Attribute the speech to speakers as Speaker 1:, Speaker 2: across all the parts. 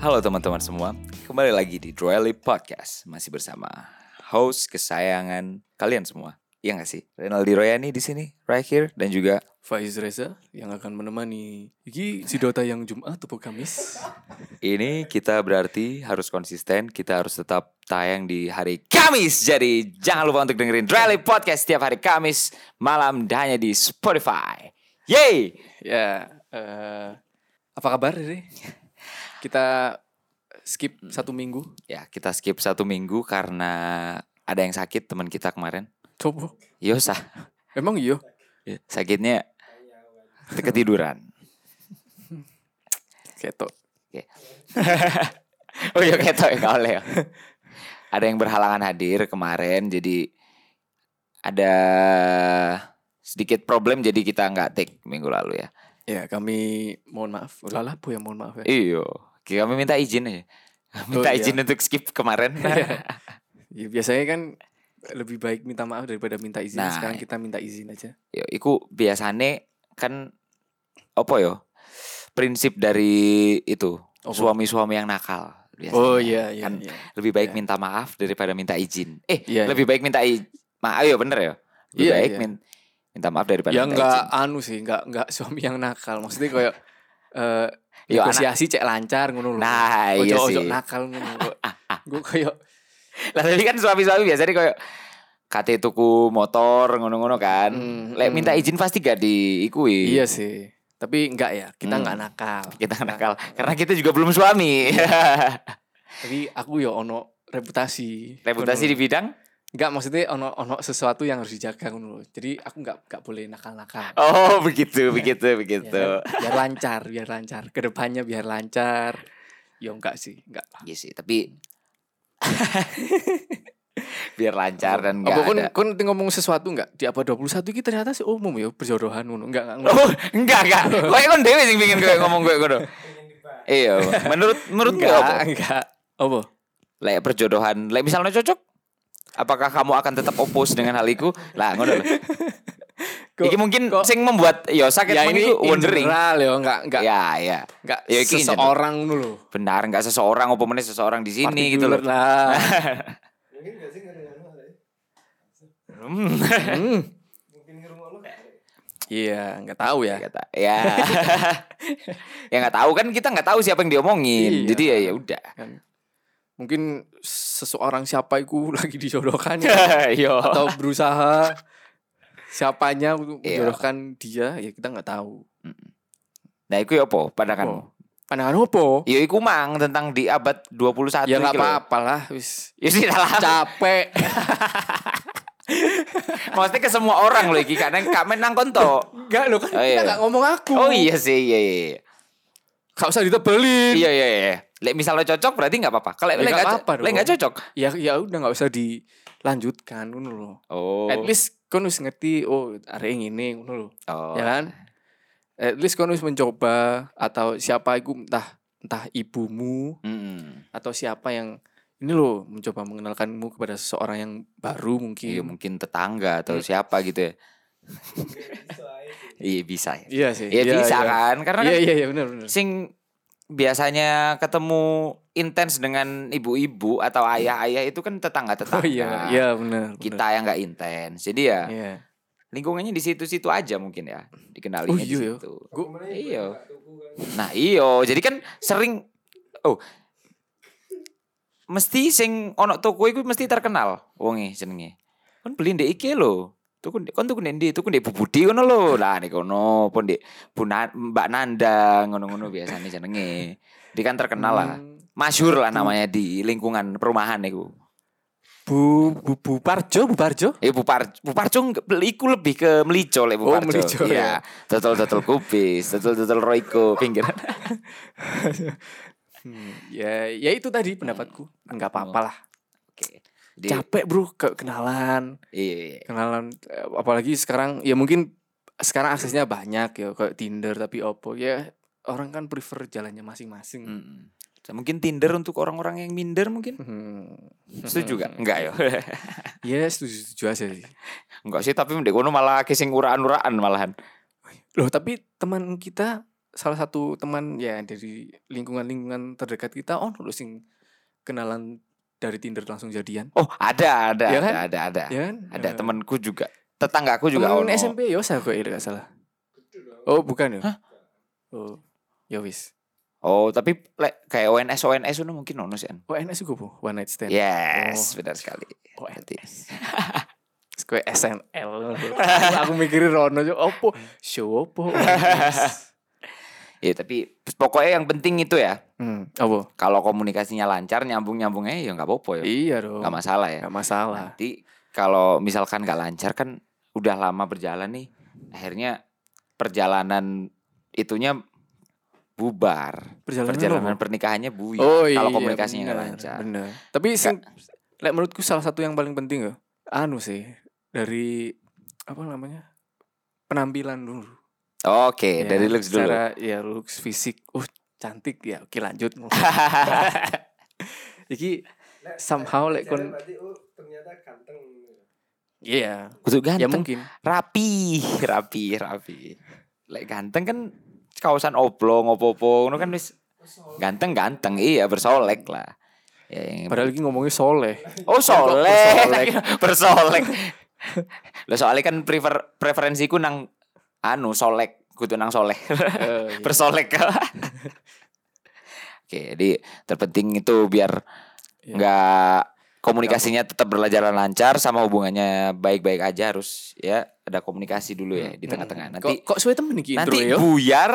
Speaker 1: Halo teman-teman semua, kembali lagi di Droeli Podcast Masih bersama host kesayangan kalian semua Iya gak sih? Renaldi Royani di sini, right here Dan juga
Speaker 2: Faiz Reza yang akan menemani Iki si Dota yang Jumat atau Kamis
Speaker 1: ini kita berarti harus konsisten Kita harus tetap tayang di hari Kamis Jadi jangan lupa untuk dengerin Droeli Podcast setiap hari Kamis Malam dan hanya di Spotify Yeay!
Speaker 2: Ya eh, Apa kabar Riri? Kita skip satu minggu
Speaker 1: Ya kita skip satu minggu karena ada yang sakit teman kita kemarin
Speaker 2: Coba
Speaker 1: Yosa
Speaker 2: Emang iya? iyo?
Speaker 1: Sakitnya ketiduran
Speaker 2: Ketok
Speaker 1: Oke. oh iya ketok ya nggak boleh ya. Ada yang berhalangan hadir kemarin jadi ada sedikit problem jadi kita nggak take minggu lalu ya.
Speaker 2: Ya kami mohon maaf Ulala bu ya mohon maaf ya
Speaker 1: Iyo, kami minta izin aja. Minta
Speaker 2: Oh, iya.
Speaker 1: izin untuk skip kemarin.
Speaker 2: Ya, Biasanya kan lebih baik minta maaf daripada minta izin
Speaker 1: Nah.
Speaker 2: Sekarang kita minta izin aja
Speaker 1: Yo, iku biasane kan apa yo? Prinsip dari itu
Speaker 2: Apa?
Speaker 1: suami-suami yang nakal. biasanya.
Speaker 2: Oh iya iya
Speaker 1: Kan
Speaker 2: iya.
Speaker 1: lebih baik
Speaker 2: Iya.
Speaker 1: minta maaf daripada minta izin. Eh,
Speaker 2: Iya,
Speaker 1: lebih baik minta izin. Ma, ayo bener ya. Lebih
Speaker 2: Iya,
Speaker 1: baik
Speaker 2: iya.
Speaker 1: min- minta maaf daripada
Speaker 2: Ya
Speaker 1: minta
Speaker 2: enggak
Speaker 1: izin.
Speaker 2: anu sih enggak enggak suami yang nakal maksudnya kayak eh
Speaker 1: Yo,
Speaker 2: negosiasi cek lancar ngono lho.
Speaker 1: Nah, iya
Speaker 2: ojo, ojo
Speaker 1: sih. Ah,
Speaker 2: nakal ngono kok. Gue kayak
Speaker 1: Lah tapi kan suami-suami biasanya kayak kate tuku motor ngono-ngono kan.
Speaker 2: Hmm,
Speaker 1: Lek
Speaker 2: hmm.
Speaker 1: minta izin pasti gak diikui.
Speaker 2: iya sih. Tapi enggak ya,
Speaker 1: Hmm.
Speaker 2: kita enggak nakal.
Speaker 1: Kita nakal karena kita juga belum suami.
Speaker 2: Tapi aku ya ono reputasi.
Speaker 1: Reputasi di bidang
Speaker 2: enggak maksudnya ono ono sesuatu yang harus dijaga ngono lho. Jadi aku enggak enggak boleh nakal-nakal.
Speaker 1: Oh, gitu. begitu, begitu,
Speaker 2: Ya
Speaker 1: begitu.
Speaker 2: kan? Biar lancar, biar lancar. Kedepannya biar lancar. Ya enggak sih, enggak. lah.
Speaker 1: Iya sih, tapi biar lancar dan enggak
Speaker 2: Apa kon
Speaker 1: ada.
Speaker 2: kon nanti ngomong sesuatu enggak di apa 21 iki ternyata sih umum ya perjodohan ngono. Enggak enggak.
Speaker 1: Oh, enggak enggak. Kowe kon dhewe sing pengin kowe ngomong kowe ngono. Iya, menurut menurut gue
Speaker 2: enggak,
Speaker 1: apa?
Speaker 2: enggak. Apa?
Speaker 1: Lek perjodohan, lek misalnya cocok, apakah kamu akan tetap opus dengan hal itu? Lah, ngono lho.
Speaker 2: Kok-
Speaker 1: Iki mungkin
Speaker 2: kok-
Speaker 1: sing membuat yo sakit
Speaker 2: Ya
Speaker 1: ya,
Speaker 2: ini
Speaker 1: wondering.
Speaker 2: general ya, enggak enggak
Speaker 1: Ya, ya.
Speaker 2: enggak
Speaker 1: Ya, iki in general.
Speaker 2: seseorang dulu.
Speaker 1: Benar, enggak seseorang apa meneh seseorang di sini gitu
Speaker 2: Particular
Speaker 1: loh.
Speaker 2: lah.
Speaker 1: Hmm,
Speaker 2: Hmm. Iya, nggak tahu ya.
Speaker 1: kata. Ya. ya nggak tahu kan kita nggak tahu siapa yang diomongin.
Speaker 2: Iya.
Speaker 1: Jadi ya ya udah.
Speaker 2: Kan. Mungkin seseorang siapa itu lagi dijodohkan ya.
Speaker 1: Yo.
Speaker 2: atau berusaha siapanya untuk
Speaker 1: Iya.
Speaker 2: menjodohkan dia, ya kita nggak tahu.
Speaker 1: Nah, iku ya apa pandanganmu?
Speaker 2: Oh. Pandangan opo?
Speaker 1: Ya iku mang tentang di abad 21
Speaker 2: Ya
Speaker 1: iki lho.
Speaker 2: nggak apa-apa lah, wis.
Speaker 1: Ya sih lah.
Speaker 2: Capek.
Speaker 1: Maksudnya ke semua orang loh iki karena kamen nang konto.
Speaker 2: Enggak lo kan
Speaker 1: Oh, iya.
Speaker 2: kita nggak ngomong aku.
Speaker 1: Oh iya sih, iya iya. iya.
Speaker 2: Gak usah ditebelin.
Speaker 1: Iya iya iya. Lek misalnya cocok berarti nggak apa-apa. Kalau
Speaker 2: Ya,
Speaker 1: lek
Speaker 2: nggak
Speaker 1: nggak
Speaker 2: apa-apa
Speaker 1: co- lek
Speaker 2: dong.
Speaker 1: nggak cocok.
Speaker 2: Ya ya udah nggak usah dilanjutkan ngono lho.
Speaker 1: Oh.
Speaker 2: At least kon wis ngerti oh arek ngene ngono lho.
Speaker 1: oh.
Speaker 2: ya kan? At least kon wis mencoba atau siapa iku entah entah ibumu
Speaker 1: Mm-mm.
Speaker 2: atau siapa yang ini loh mencoba mengenalkanmu kepada seseorang yang baru mungkin.
Speaker 1: Iya mungkin tetangga atau
Speaker 2: Hmm.
Speaker 1: siapa gitu ya. Iya bisa ya.
Speaker 2: Iya sih.
Speaker 1: Iya bisa kan karena kan
Speaker 2: Iya iya iya benar benar.
Speaker 1: sing biasanya ketemu intens dengan ibu-ibu atau ayah-ayah itu kan tetangga-tetangga.
Speaker 2: Oh iya iya benar. benar.
Speaker 1: kan? Kita yang nggak intens. Jadi ya
Speaker 2: Iya.
Speaker 1: lingkungannya di situ-situ aja mungkin ya dikenalinya
Speaker 2: Oh,
Speaker 1: di
Speaker 2: iya, ya.
Speaker 1: situ.
Speaker 2: Gua-
Speaker 1: Iya. Nah, iyo. Jadi kan sering oh mesti sing ono toko iku mesti terkenal wonge jenenge. Kon beli ndek iki lho. Tuku ndek- kon tuku ndek ndi? Tuku ndek Bu Budi ngono lho. Lah nek kono apa ndek Bu Na- Mbak Nanda ngono-ngono biasanya jenenge. Dia kan terkenal lah.
Speaker 2: Hmm,
Speaker 1: Masyur lah namanya di lingkungan perumahan iku.
Speaker 2: Bu Bu Bu Parjo Bu Parjo.
Speaker 1: Eh Bu Par Bu Parjo nggak- iku lebih ke melico lek Bu
Speaker 2: Oh,
Speaker 1: Parjo.
Speaker 2: melico,
Speaker 1: iya. Dodol-dodol kubis, dodol-dodol roiko pinggiran.
Speaker 2: Hmm, ya ya itu
Speaker 1: Hmm.
Speaker 2: tadi pendapatku. Enggak apa-apa
Speaker 1: Oh,
Speaker 2: lah.
Speaker 1: Oke. Jadi,
Speaker 2: Capek bro ke kenalan.
Speaker 1: iya, iya.
Speaker 2: kenalan eh, apalagi sekarang ya mungkin sekarang aksesnya banyak ya kayak Tinder tapi Oppo ya orang kan prefer jalannya masing-masing.
Speaker 1: Mm. Mungkin Tinder untuk orang-orang yang minder mungkin
Speaker 2: Hmm.
Speaker 1: Setuju gak? Enggak ya
Speaker 2: Ya setuju-setuju aja sih.
Speaker 1: Enggak sih tapi mendek kono malah kesing uraan-uraan malahan
Speaker 2: Loh tapi teman kita salah satu teman ya dari lingkungan-lingkungan terdekat kita oh lho sing kenalan dari Tinder langsung jadian.
Speaker 1: Oh, ada ada
Speaker 2: Iya
Speaker 1: ada,
Speaker 2: kan?
Speaker 1: ada ada.
Speaker 2: Ya kan?
Speaker 1: Nah, Ada
Speaker 2: Ya.
Speaker 1: temanku juga. Tetanggaku juga ono.
Speaker 2: Temen SMP ya usah kok enggak salah. Oh, bukan ya? Oh. Ya wis.
Speaker 1: Oh, tapi lek kayak ONS ONS itu mungkin ono sih. An.
Speaker 2: Oh, NS juga bu, one night stand.
Speaker 1: Yes,
Speaker 2: Oh.
Speaker 1: benar sekali.
Speaker 2: Oh,
Speaker 1: Berarti.
Speaker 2: Terus Kue SNL. Aku- Aku mikirin Rono juga, opo, show opo.
Speaker 1: Ya, tapi pokoknya yang penting itu ya.
Speaker 2: hmm, opo?
Speaker 1: Kalau komunikasinya lancar, nyambung-nyambungnya ya nggak apa-apa ya.
Speaker 2: Iya dong.
Speaker 1: Nggak masalah ya.
Speaker 2: Gak masalah.
Speaker 1: Nanti kalau misalkan nggak lancar kan udah lama berjalan nih, akhirnya perjalanan itunya bubar.
Speaker 2: Perjalanan,
Speaker 1: Perjalanan
Speaker 2: apa?
Speaker 1: pernikahannya buyar
Speaker 2: Oh iya.
Speaker 1: kalau komunikasinya nggak
Speaker 2: bener,
Speaker 1: lancar.
Speaker 2: Bener. Tapi sing, lek menurutku salah satu yang paling penting ya, anu sih dari apa namanya penampilan dulu.
Speaker 1: Oke,
Speaker 2: Ya,
Speaker 1: dari looks dulu.
Speaker 2: secara- ya looks fisik. Uh cantik ya. Oke lanjut. Iki somehow lek kon.
Speaker 3: berarti oh, ternyata ganteng
Speaker 2: Iya.
Speaker 1: Kudu
Speaker 2: Ya
Speaker 1: ganteng,
Speaker 2: mungkin.
Speaker 1: rapi, rapi, rapi. Lek ganteng kan kawasan oblong opo-opo ngono kan wis ganteng-ganteng iya bersolek lah. Ya, yang-
Speaker 2: Padahal lagi ngomongnya soleh.
Speaker 1: Oh
Speaker 2: Kok
Speaker 1: solek, bersolek. Lo soalnya kan prefer preferensiku nang anu solek, kudu nang solek,
Speaker 2: Eh, iya.
Speaker 1: bersolek. Oke, jadi terpenting itu biar
Speaker 2: Iya.
Speaker 1: nggak komunikasinya tetap berjalan lancar sama hubungannya baik-baik aja harus ya ada komunikasi dulu ya di tengah-tengah.
Speaker 2: Mm-mm.
Speaker 1: Nanti
Speaker 2: iya. Hmm. kok kok suwe temen iki
Speaker 1: nanti
Speaker 2: intro ya?
Speaker 1: buyar,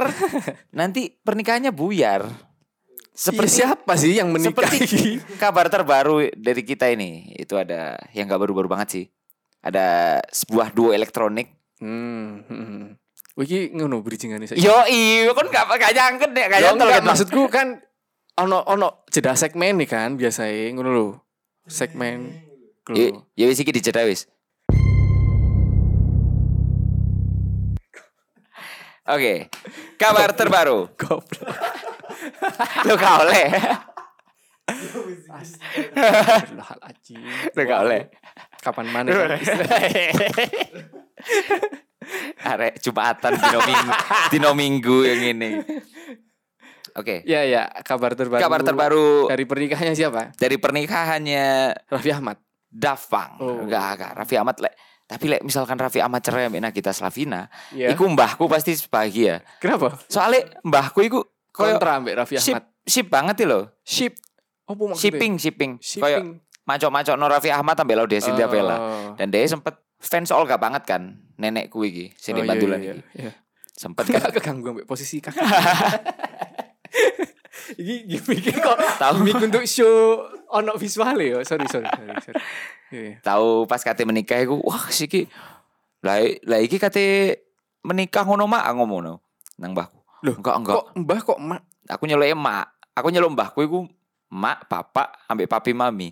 Speaker 1: nanti pernikahannya buyar. Seperti
Speaker 2: Seperti siapa sih yang menikah? iki?
Speaker 1: Iya. seperti kabar terbaru dari kita ini itu ada yang gak baru-baru banget sih. Ada sebuah duo elektronik.
Speaker 2: Hmm. hmm. Wiki ngono bridgingannya saiki.
Speaker 1: Yo iyo kan gak gak nyangkut ya gak
Speaker 2: Ya
Speaker 1: nyantol
Speaker 2: enggak,
Speaker 1: gitu.
Speaker 2: maksudku kan ono ono jeda segmen nih kan biasanya ngono lho. Segmen lho.
Speaker 1: Yo- Yo wis iki dicedak wis. Oke, kabar terbaru.
Speaker 2: Goblok.
Speaker 1: Lo gak oleh.
Speaker 2: Astagfirullahaladzim.
Speaker 1: Lo gak oleh.
Speaker 2: Kapan mana kan?
Speaker 1: Arek Jumatan dino minggu, dino minggu yang ini. Oke,
Speaker 2: Ya ya, kabar terbaru.
Speaker 1: kabar terbaru
Speaker 2: dari pernikahannya siapa?
Speaker 1: dari pernikahannya
Speaker 2: Raffi Ahmad.
Speaker 1: Daft Punk.
Speaker 2: Oh.
Speaker 1: Enggak, enggak. Raffi Ahmad lek. Tapi lek misalkan Raffi Ahmad cerai ambek Nagita Slavina,
Speaker 2: Iya.
Speaker 1: iku mbahku pasti bahagia.
Speaker 2: Kenapa?
Speaker 1: Soalnya mbahku iku koyo
Speaker 2: Kontra ambek Raffi
Speaker 1: ship,
Speaker 2: Ahmad.
Speaker 1: ship banget lho.
Speaker 2: Ship. Apa maksudnya?
Speaker 1: Shipping, shipping. Koyo
Speaker 2: Shipping.
Speaker 1: macok-macok no Raffi Ahmad ambek Laudya Cynthia Bella.
Speaker 2: Oh.
Speaker 1: Dan dia sempet fans Olga banget kan, nenekku iki, sini
Speaker 2: Oh, iya,
Speaker 1: bantulan
Speaker 2: iya,
Speaker 1: iki.
Speaker 2: iya.
Speaker 1: Sempet kan.
Speaker 2: Gak keganggu ambek posisi kaki. Iki gimmick kok
Speaker 1: Tahu.
Speaker 2: gimmick untuk show ono visual ya. Sorry sorry sorry. sorry. Iya, iya.
Speaker 1: tahu pas kate menikah iku wah siki lah lah iki kate menikah ngono mak aku ngomong no nang mbahku
Speaker 2: Loh,
Speaker 1: enggak enggak
Speaker 2: Kok Mbah kok mak
Speaker 1: aku nyeluk mak aku nyeluk mbahku iku mak bapak ambek papi mami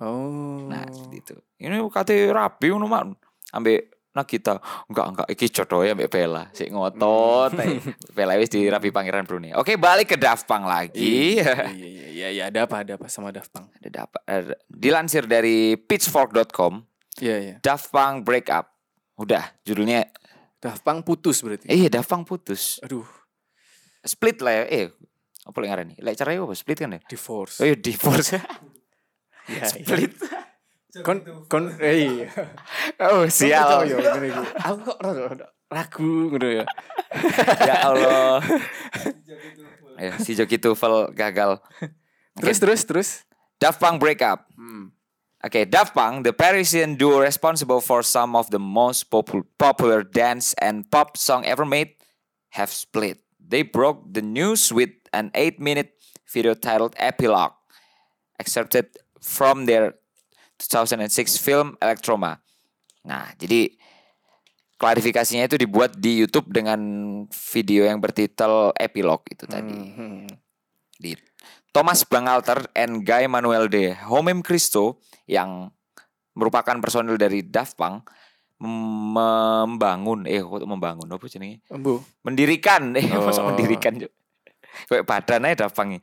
Speaker 2: Oh.
Speaker 1: nah seperti itu ini kate rapi ngono mak ambek Nagita enggak enggak iki jodohnya ambek Bella si ngotot
Speaker 2: Hmm.
Speaker 1: eh. Bella wis di Rapi Pangeran Brunei oke balik ke Daft Punk lagi
Speaker 2: Iya iya iya iya, iya ada apa ada apa sama Daft Punk.
Speaker 1: Ada dapat- ada- dilansir dari pitchfork.com
Speaker 2: Iya iya.
Speaker 1: Daft Punk break up udah judulnya
Speaker 2: Daft Punk putus berarti.
Speaker 1: Eh, iya, Daft Punk putus.
Speaker 2: Aduh,
Speaker 1: Split lah ya. Eh, apa yang ngarani? Lek cerai apa? Split kan ya? Oh
Speaker 2: divorce.
Speaker 1: iya, divorce.
Speaker 2: Iya, iya.
Speaker 1: Split.
Speaker 2: Kon kon eh, iya.
Speaker 1: Oh,
Speaker 2: Aku
Speaker 1: sial.
Speaker 2: percaya, ngene iki. Aku kok rada- ragu ngono ya.
Speaker 1: ya Allah. ya, si Joki Tufel gagal.
Speaker 2: Terus terus terus.
Speaker 1: Daft Punk break up. Okay, Daft Punk, the Parisian duo responsible for some of the most popul- popular dance and pop song ever made, have split. They broke the news with an eight-minute video titled "Epilogue," excerpted from their 2006 film Electroma. Nah, jadi klarifikasinya itu dibuat di YouTube dengan video yang bertitel "Epilogue" itu tadi
Speaker 2: Hmm.
Speaker 1: di Thomas Bangalter and Guy Manuel de Homem Cristo yang merupakan personil dari Daft Punk mem- membangun eh kok membangun apa jenenge
Speaker 2: Embu.
Speaker 1: mendirikan eh
Speaker 2: Oh.
Speaker 1: masa mendirikan Cuk? kayak badan aja Daft Punk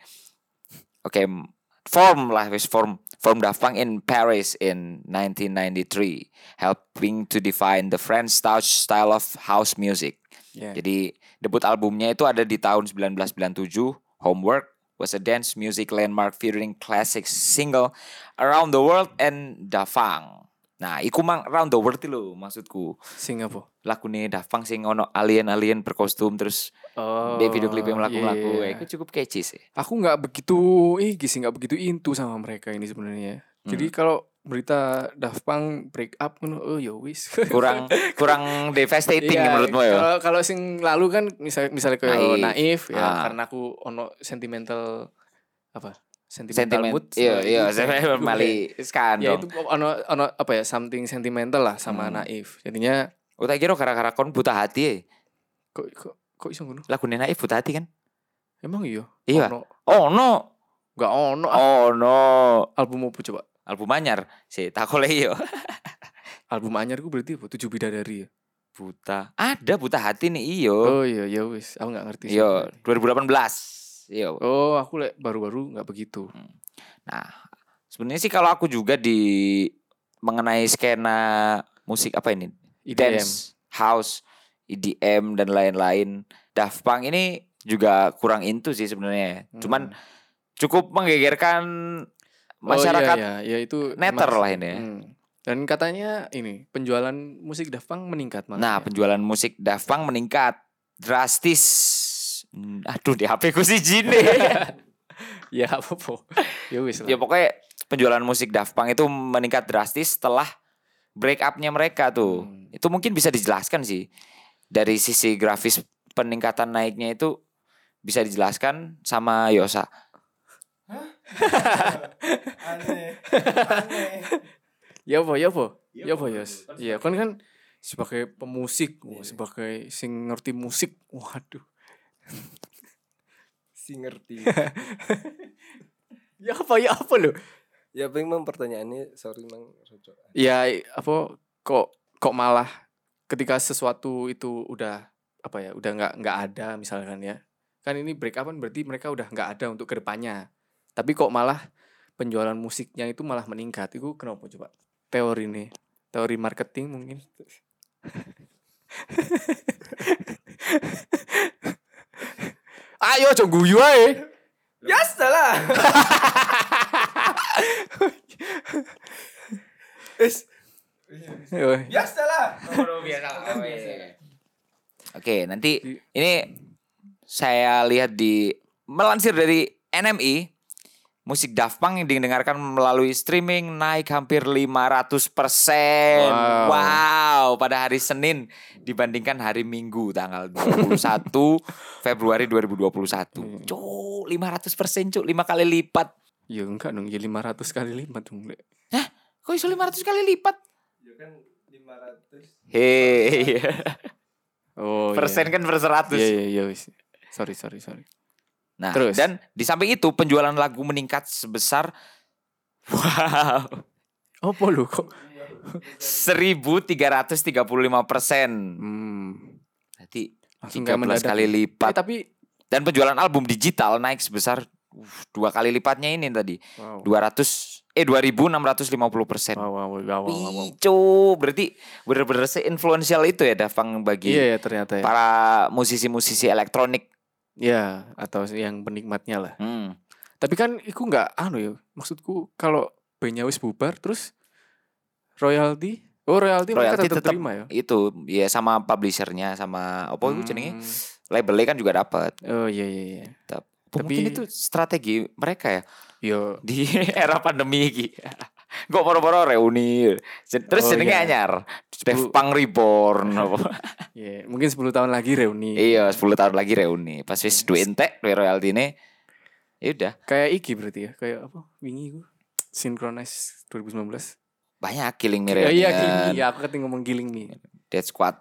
Speaker 1: oke m- form lah wis form form Daft Punk in Paris in 1993 helping to define the French touch style of house music
Speaker 2: Iya.
Speaker 1: Jadi debut albumnya itu ada di tahun 1997, Homework was a dance music landmark featuring classic single Around the World and Dafang. Nah, iku mang Around the World lho maksudku.
Speaker 2: Singapura.
Speaker 1: Lagune Dafang sing ono alien-alien berkostum terus
Speaker 2: Oh.
Speaker 1: dia video klipnya melaku-laku.
Speaker 2: iya.
Speaker 1: Iku cukup catchy sih.
Speaker 2: Aku nggak begitu eh sih nggak begitu intu sama mereka ini sebenarnya. Jadi kalau berita Daft Punk break up ngono oh ya wis.
Speaker 1: Hmm. Kurang kurang devastating
Speaker 2: Iya,
Speaker 1: menurutmu ya.
Speaker 2: Kalau kalau sing lalu kan misal misalnya kayak
Speaker 1: Naif.
Speaker 2: naif, ya
Speaker 1: Ah.
Speaker 2: karena aku ono sentimental apa? Sentimental
Speaker 1: Sentimen,
Speaker 2: mood. nah,
Speaker 1: iya iya,
Speaker 2: Itu
Speaker 1: saya
Speaker 2: kayak-
Speaker 1: mali skan
Speaker 2: Ya
Speaker 1: dong.
Speaker 2: itu ono ono apa ya something sentimental lah sama
Speaker 1: Hmm.
Speaker 2: naif. Jadinya
Speaker 1: Oh, tak kira gara-gara kon buta hati ya.
Speaker 2: kok kok kok iso ngono?
Speaker 1: Lagu Naif buta hati kan?
Speaker 2: Emang iya.
Speaker 1: Iya.
Speaker 2: Ono.
Speaker 1: Oh no.
Speaker 2: Gak ono ah.
Speaker 1: Oh no.
Speaker 2: album apa coba?
Speaker 1: Album anyar si Takoleyo.
Speaker 2: Album anyar gue berarti apa? Tujuh bidadari ya.
Speaker 1: Buta. Ada buta hati nih iyo.
Speaker 2: Oh, iya ya wis, aku gak ngerti. sih.
Speaker 1: Iyo 2018. Iyo.
Speaker 2: Oh, aku lek baru-baru nggak begitu.
Speaker 1: Nah, sebenarnya sih kalau aku juga di mengenai skena musik apa ini?
Speaker 2: IDM.
Speaker 1: Dance, house, EDM dan lain-lain. Daft Punk ini juga kurang into sih sebenarnya. Cuman
Speaker 2: Hmm.
Speaker 1: cukup menggegerkan
Speaker 2: Oh, iya,
Speaker 1: masyarakat
Speaker 2: iya, iya, itu
Speaker 1: netter
Speaker 2: emang-
Speaker 1: lah ini. ya.
Speaker 2: Hmm. Dan katanya ini penjualan musik Daft Punk meningkat malah.
Speaker 1: Nah, penjualan musik Daft Punk meningkat drastis. Hmm, Aduh, di HP ku sih jine.
Speaker 2: ya apa-apa. Ya wis
Speaker 1: ya
Speaker 2: lah.
Speaker 1: pokoknya penjualan musik Daft Punk itu meningkat drastis setelah break up-nya mereka tuh.
Speaker 2: Hmm.
Speaker 1: Itu mungkin bisa dijelaskan sih. Dari sisi grafis peningkatan naiknya itu bisa dijelaskan sama Yosa.
Speaker 3: aneh aneh
Speaker 2: Ya apa, ya apa? Ya apa,
Speaker 3: Pak.
Speaker 2: Iya. Yos? Iya, kan kan sebagai pemusik, wah, sebagai sing ngerti musik. Waduh.
Speaker 3: si ngerti
Speaker 2: Ya apa, ya apa lo?
Speaker 3: ya paling mang pertanyaannya sorry mang Rojo.
Speaker 2: Ya i- apa kok kok malah ketika sesuatu itu udah apa ya udah nggak nggak ada misalkan ya kan ini break up kan berarti mereka udah nggak ada untuk kedepannya tapi kok malah penjualan musiknya itu malah meningkat itu kenapa coba teori nih teori marketing mungkin ayo coba guyu ae
Speaker 3: ya salah
Speaker 2: Is.
Speaker 3: ya salah
Speaker 1: Oke, nanti ini saya lihat di melansir dari NMI musik Daft Punk yang didengarkan melalui streaming naik hampir 500 persen. Wow.
Speaker 2: Wow.
Speaker 1: pada hari Senin dibandingkan hari Minggu tanggal 21 Februari
Speaker 2: Hmm.
Speaker 1: 2021. Cuk, 500 persen cuk, 5 kali lipat.
Speaker 2: ya enggak dong ya 500 kali lipat dong Lek.
Speaker 1: Kok iso 500 kali lipat?
Speaker 3: ya kan 500
Speaker 1: Hei,
Speaker 2: oh iya.
Speaker 1: persen kan per 100.
Speaker 2: Iya iya iya wis. Sorry sorry sorry.
Speaker 1: Nah,
Speaker 2: Terus?
Speaker 1: dan di samping itu penjualan lagu meningkat sebesar wow
Speaker 2: Apa lu kok?
Speaker 1: 1335 persen.
Speaker 2: Hmm.
Speaker 1: Berarti
Speaker 2: Langsung
Speaker 1: 13
Speaker 2: kayak mendadak.
Speaker 1: kali
Speaker 2: Eh,
Speaker 1: lipat.
Speaker 2: tapi
Speaker 1: Dan penjualan album digital naik sebesar uh, dua kali lipatnya ini tadi.
Speaker 2: wow.
Speaker 1: 200 eh 2650 persen.
Speaker 2: Wow wow wow wow. wow, wow.
Speaker 1: Picu, berarti bener-bener se-influential itu ya Daft Punk bagi
Speaker 2: Iya ya ternyata ya.
Speaker 1: para musisi-musisi elektronik.
Speaker 2: Iya, atau yang penikmatnya lah.
Speaker 1: Hmm.
Speaker 2: Tapi kan iku nggak anu ya. Maksudku kalau bandnya wis bubar terus royalti Oh royalti mereka
Speaker 1: Royalti
Speaker 2: tetap,
Speaker 1: tetap-
Speaker 2: terima ya.
Speaker 1: Itu ya sama publishernya sama apa itu jenenge?
Speaker 2: Hmm.
Speaker 1: Labelnya kan juga dapat.
Speaker 2: Oh iya iya iya.
Speaker 1: Tapi, mungkin
Speaker 2: Tapi-
Speaker 1: itu strategi mereka ya
Speaker 2: Yo.
Speaker 1: di
Speaker 2: Iya.
Speaker 1: era pandemi ini. Gue moro-moro reuni. Jen- Terus
Speaker 2: Oh,
Speaker 1: jenenge
Speaker 2: iya.
Speaker 1: anyar. Daft
Speaker 2: Bu-
Speaker 1: Punk Reborn. apa.
Speaker 2: Iya, mungkin 10 tahun lagi reuni.
Speaker 1: iya, 10 tahun lagi reuni. Pas wis duwe entek, duwe royalti ini. Ya udah,
Speaker 2: Kayak iki berarti ya. Kayak apa? Wingi iku. Synchronize 2019.
Speaker 1: banyak killing me
Speaker 2: Iya,
Speaker 1: reunion.
Speaker 2: iya, Giling Me. Ya, aku keting ngomong Giling Me.
Speaker 1: Dead Squad.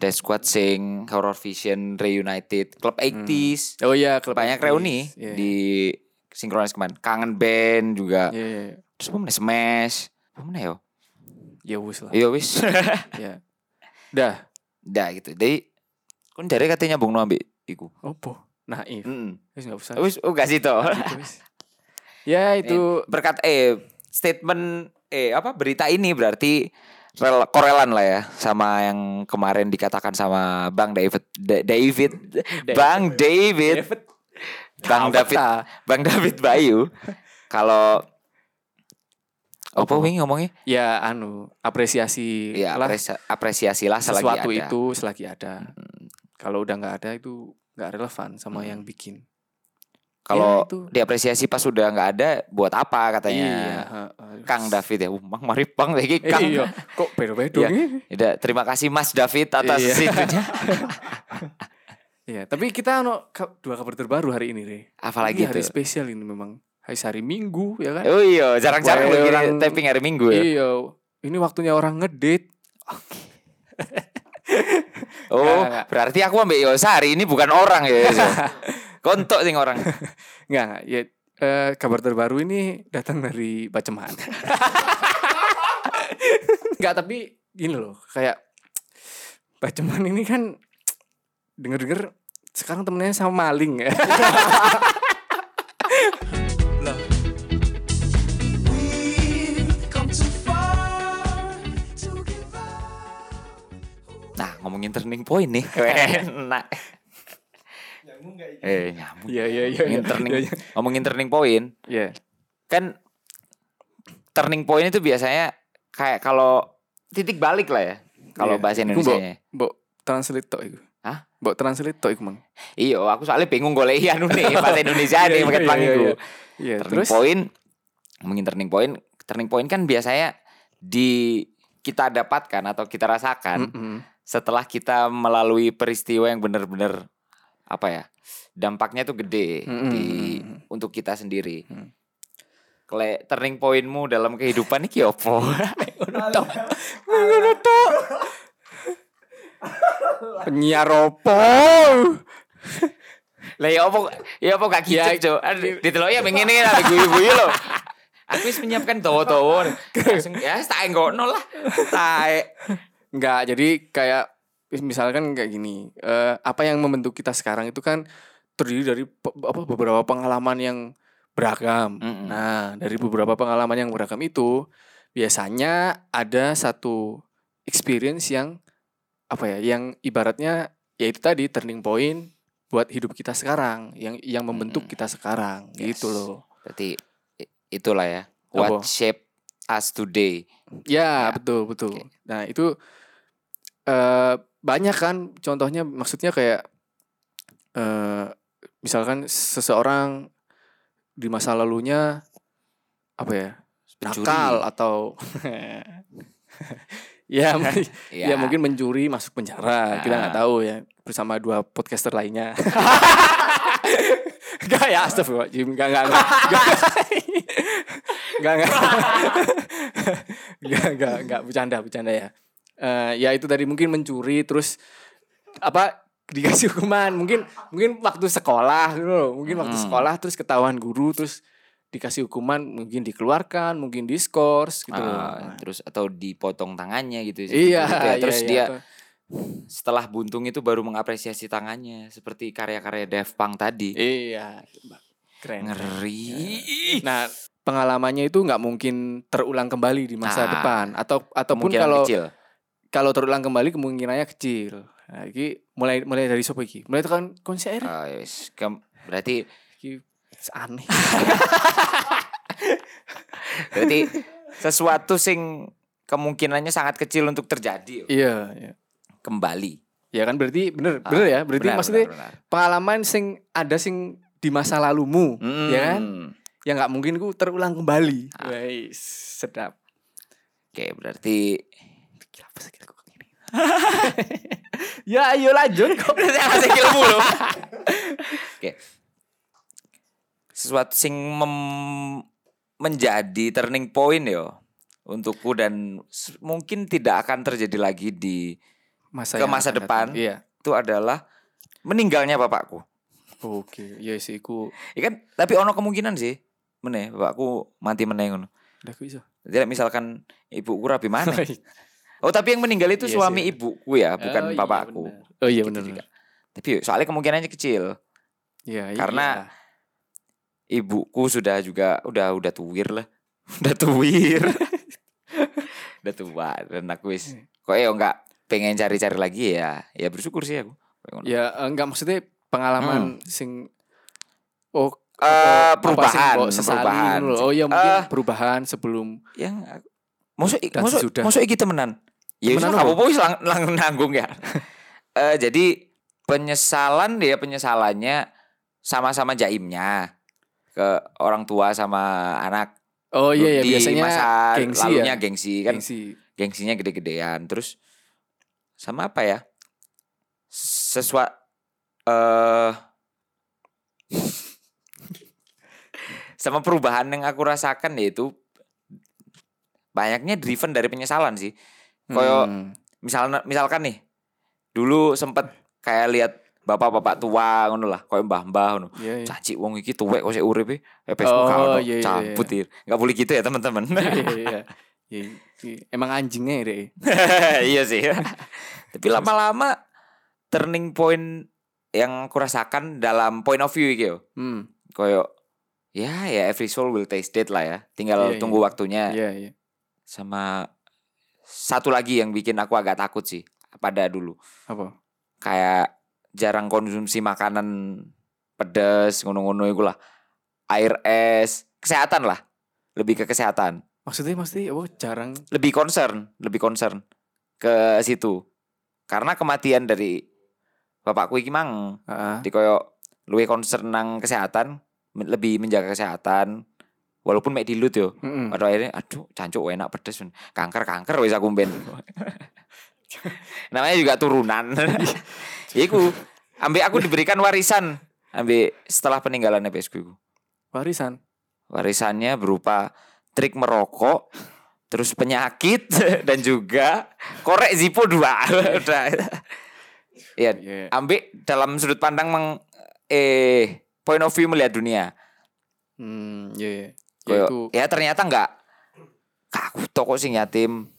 Speaker 1: Dead Squad sing Horror Vision Reunited, Club 80s.
Speaker 2: Oh iya, klub
Speaker 1: Banyak
Speaker 2: Aktivis.
Speaker 1: reuni
Speaker 2: Hmm. Iya.
Speaker 1: di sinkronis kemarin. Kangen Band juga.
Speaker 2: Iya, iya, iya.
Speaker 1: Terus apa meneh? Smash. Apa meneh yo?
Speaker 2: ya wis lah.
Speaker 1: Iya wis.
Speaker 2: Iya. Dah,
Speaker 1: Dah gitu. Jadi kon jare katanya Bung Noam ambek iku.
Speaker 2: opo? Naif.
Speaker 1: Heeh.
Speaker 2: Wis enggak usah.
Speaker 1: Wis oh gak sih toh.
Speaker 2: Gitu, wis. Ya itu
Speaker 1: Berkat eh statement eh apa berita ini berarti rel- korelan lah ya sama yang kemarin dikatakan sama Bang David Da- David Bang David Bang David
Speaker 2: Kafta.
Speaker 1: Bang David Bayu kalau apa wingi ngomongnya
Speaker 2: ya anu
Speaker 1: ya
Speaker 2: apresiasi Iya lah
Speaker 1: apresi- apresiasilah selagi
Speaker 2: sesuatu
Speaker 1: ada. Hmm.
Speaker 2: itu selagi ada kalau udah nggak ada itu nggak relevan sama yang bikin
Speaker 1: kalau
Speaker 2: Ya, itu.
Speaker 1: diapresiasi pas sudah nggak ada buat apa katanya
Speaker 2: iya heeh.
Speaker 1: Kang David ya umang maripang lagi
Speaker 2: Eh,
Speaker 1: Kang
Speaker 2: iya kok bedo-bedo
Speaker 1: Iya.
Speaker 2: ini?
Speaker 1: Yaudah, terima kasih Mas David atas
Speaker 2: Iya.
Speaker 1: situnya
Speaker 2: Iya, tapi kita ano ka- dua kabar terbaru hari ini, Re.
Speaker 1: apalagi
Speaker 2: ini
Speaker 1: itu
Speaker 2: hari spesial ini memang. Hari hari Minggu ya kan?
Speaker 1: oh iya jarang-jarang
Speaker 2: Wah,
Speaker 1: loh
Speaker 2: orang-
Speaker 1: gini taping hari Minggu ya
Speaker 2: Iya. Ini waktunya orang ngedate.
Speaker 1: Oh,
Speaker 2: Nggak, nggak.
Speaker 1: berarti aku ambil Yosa hari ini bukan orang ya. Yos, ya? Kontok sing orang.
Speaker 2: Enggak, enggak. Ya, eh, kabar terbaru ini datang dari Baceman. Enggak, tapi gini loh, kayak Baceman ini kan denger-denger sekarang temennya sama maling ya.
Speaker 1: Nah, ngomongin turning point nih.
Speaker 2: Iya.
Speaker 1: Enak.
Speaker 3: Nyambung nggak ini?
Speaker 1: Eh, nyambung.
Speaker 2: Iya, iya, iya.
Speaker 1: Ngomongin turning, ngomongin turning point
Speaker 2: Iya.
Speaker 1: kan turning point itu biasanya kayak kalau titik balik lah ya. Kalau
Speaker 2: Iya.
Speaker 1: bahasa
Speaker 2: Iku mbok-
Speaker 1: Indonesia.
Speaker 2: Mbok translate tok iku.
Speaker 1: Hah?
Speaker 2: Mbok translate tok iku, Mang.
Speaker 1: Iya, aku soalnya bingung golehi anu nih bahasa Indonesia
Speaker 2: Iya,
Speaker 1: nih
Speaker 2: iya,
Speaker 1: pakai
Speaker 2: iya,
Speaker 1: pelangi
Speaker 2: iya.
Speaker 1: itu.
Speaker 2: Iya,
Speaker 1: turning
Speaker 2: terus
Speaker 1: point ngomongin turning point turning point kan biasanya di kita dapatkan atau kita rasakan
Speaker 2: Mm-mm.
Speaker 1: setelah kita melalui peristiwa yang benar-benar apa ya dampaknya tuh gede
Speaker 2: Mm-mm.
Speaker 1: di untuk kita sendiri
Speaker 2: Mm.
Speaker 1: Kle, turning pointmu dalam kehidupan iki opo
Speaker 2: penyiar opo?
Speaker 1: lah ya opo ya opo gak
Speaker 2: Ya,
Speaker 1: kicep cok Aduh, ditelok ya pengen ini lah ibu-ibu ya lo aku wis menyiapkan tawa-tawa langsung ya tak enggokno lah tak
Speaker 2: Enggak, jadi kayak misalkan kayak gini, eh, apa yang membentuk kita sekarang itu kan terdiri dari pe- apa beberapa pengalaman yang beragam.
Speaker 1: Mm-mm.
Speaker 2: Nah, dari beberapa pengalaman yang beragam itu biasanya ada satu experience yang apa ya, yang ibaratnya yaitu tadi turning point buat hidup kita sekarang, yang yang membentuk
Speaker 1: Mm-mm.
Speaker 2: kita sekarang
Speaker 1: Yes.
Speaker 2: gitu loh.
Speaker 1: Berarti i- itulah ya. What
Speaker 2: Apa?
Speaker 1: shape us today. Ya.
Speaker 2: Ya, betul betul.
Speaker 1: Oke.
Speaker 2: Nah itu eh banyak kan contohnya maksudnya kayak eh misalkan seseorang di masa lalunya apa ya
Speaker 1: Pencuri.
Speaker 2: nakal atau ya mungkin- ya mungkin mencuri masuk penjara kita nggak
Speaker 1: Ah.
Speaker 2: tahu ya bersama dua podcaster lainnya Enggak ya astagfirullahaladzim Enggak enggak enggak Enggak enggak Enggak enggak enggak bercanda bercanda ya Eh Ya itu tadi mungkin mencuri terus Apa dikasih hukuman mungkin mungkin waktu sekolah gitu loh. mungkin waktu
Speaker 1: Hmm.
Speaker 2: sekolah terus ketahuan guru terus dikasih hukuman mungkin dikeluarkan mungkin diskors gitu
Speaker 1: Ah,
Speaker 2: loh
Speaker 1: terus atau dipotong tangannya gitu.
Speaker 2: iya
Speaker 1: gitu ya.
Speaker 2: iya,
Speaker 1: Terus
Speaker 2: iya.
Speaker 1: dia setelah buntung itu baru mengapresiasi tangannya seperti karya-karya Daft Punk tadi.
Speaker 2: Iya, keren.
Speaker 1: Ngeri.
Speaker 2: Nah, pengalamannya itu nggak mungkin terulang kembali di masa
Speaker 1: Nah,
Speaker 2: depan atau ataupun
Speaker 1: Kemungkinan
Speaker 2: kalau
Speaker 1: kecil.
Speaker 2: kalau terulang kembali kemungkinannya kecil. Nah, iki mulai mulai dari sopo iki? Mulai tekan konser
Speaker 1: Ah, yes. Kem- berarti
Speaker 2: iki aneh.
Speaker 1: berarti sesuatu sing kemungkinannya sangat kecil untuk terjadi ya,
Speaker 2: iya, iya.
Speaker 1: kembali.
Speaker 2: Ya kan berarti bener,
Speaker 1: Ah,
Speaker 2: bener ya. Berarti
Speaker 1: Benar,
Speaker 2: maksudnya
Speaker 1: benar, benar.
Speaker 2: pengalaman sing ada sing di masa lalumu, ya kan?
Speaker 1: Hmm.
Speaker 2: Ya nggak mungkin ku terulang kembali.
Speaker 1: Ah.
Speaker 2: Wais, sedap.
Speaker 1: Oke, berarti
Speaker 2: Kenapa sakit kok gini? ya ayo lanjut kok.
Speaker 1: Asik ilmu loh. Oke. Sesuatu sing mem- menjadi turning point yo untukku dan s- mungkin tidak akan terjadi lagi di Ke
Speaker 2: yang
Speaker 1: masa
Speaker 2: akan
Speaker 1: depan.
Speaker 2: datang. Iya.
Speaker 1: itu adalah meninggalnya bapakku.
Speaker 2: Oke, ya sih iku
Speaker 1: Ya kan, tapi ono kemungkinan sih. Meneh bapakku mati meneh ngono.
Speaker 2: udah aku iso.
Speaker 1: Jadi misalkan ibuku rapi mana?
Speaker 2: Baik.
Speaker 1: Oh, tapi yang meninggal itu
Speaker 2: Iya sih,
Speaker 1: suami
Speaker 2: bener.
Speaker 1: ibuku ya, bukan
Speaker 2: Oh, iya,
Speaker 1: bapakku.
Speaker 2: benar. Oh iya
Speaker 1: Gitu
Speaker 2: benar.
Speaker 1: juga. Tapi soalnya kemungkinannya kecil.
Speaker 2: Iya, iya.
Speaker 1: Karena- ibuku sudah juga udah udah tuwir lah udah tuwir udah tua dan aku wis
Speaker 2: Hmm.
Speaker 1: kok ya enggak pengen cari-cari lagi ya ya bersyukur sih aku Kayak ngono.
Speaker 2: Ya eh, enggak maksudnya pengalaman sing oh
Speaker 1: Hmm. Eh,
Speaker 2: apa sing
Speaker 1: perubahan,
Speaker 2: kok sesali
Speaker 1: perubahan.
Speaker 2: ngono lho. Oh ya mungkin
Speaker 1: Eh.
Speaker 2: perubahan sebelum
Speaker 1: yang eh, aku- masuk
Speaker 2: Dan
Speaker 1: masuk
Speaker 2: sesudah.
Speaker 1: masuk iki temenan ya wis lah,
Speaker 2: Temenan apa?
Speaker 1: nggak apa-apa wis lang, lang nanggung ya Eh jadi penyesalan dia penyesalannya sama-sama jaimnya ke orang tua sama anak
Speaker 2: Oh iya ya
Speaker 1: di
Speaker 2: biasanya
Speaker 1: masa
Speaker 2: gengsi
Speaker 1: lalunya
Speaker 2: ya.
Speaker 1: gengsi kan
Speaker 2: gengsi.
Speaker 1: gengsinya gede-gedean terus sama apa ya sesuatu eh sama perubahan yang aku rasakan yaitu banyaknya driven dari penyesalan sih Koyo-
Speaker 2: Hmm.
Speaker 1: misalnya misalkan nih dulu sempet kayak lihat bapak-bapak tua ngono lah koyo mbah-mbah ngono
Speaker 2: Iya, iya.
Speaker 1: caci wong iki tuwek kok sik uripe epesku
Speaker 2: Oh,
Speaker 1: gak ono
Speaker 2: iya, iya, iya.
Speaker 1: cabut ir nggak boleh gitu ya teman-teman
Speaker 2: Iya, iya, iya. Iya, iya. Emang anjingnya ya, Dek.
Speaker 1: iya sih. Tapi lama-lama turning point yang aku rasakan dalam point of view gitu.
Speaker 2: Hmm.
Speaker 1: Koyo ya ya every soul will taste it lah ya.
Speaker 2: Iya,
Speaker 1: Tinggal
Speaker 2: iya.
Speaker 1: tunggu waktunya.
Speaker 2: Iya, iya.
Speaker 1: Sama satu lagi yang bikin aku agak takut sih pada dulu.
Speaker 2: Apa?
Speaker 1: Kayak jarang konsumsi makanan pedas ngono-ngono itu lah. Air es, kesehatan lah. Lebih ke kesehatan.
Speaker 2: Maksudnya maksudnya apa jarang
Speaker 1: lebih concern, lebih concern ke situ. Karena kematian dari bapakku iki mang
Speaker 2: Heeh.
Speaker 1: di koyo luwe concern nang kesehatan, men- lebih menjaga kesehatan walaupun mek dilut yo.
Speaker 2: Heeh.
Speaker 1: Pada akhirnya aduh cancuk wah, enak pedes men. kanker-kanker wis aku ben. Namanya juga turunan. Iku ambek aku diberikan warisan ambek setelah peninggalan besku iku.
Speaker 2: Warisan.
Speaker 1: Warisannya berupa trik merokok, terus penyakit dan juga korek Zippo 2. Udah. Iya,
Speaker 2: Iya.
Speaker 1: ambil dalam sudut pandang meng eh point of view melihat dunia.
Speaker 2: Hmm, iya, iya. Ya,
Speaker 1: Kayak,
Speaker 2: itu
Speaker 1: ya ternyata enggak kaku toko sing yatim.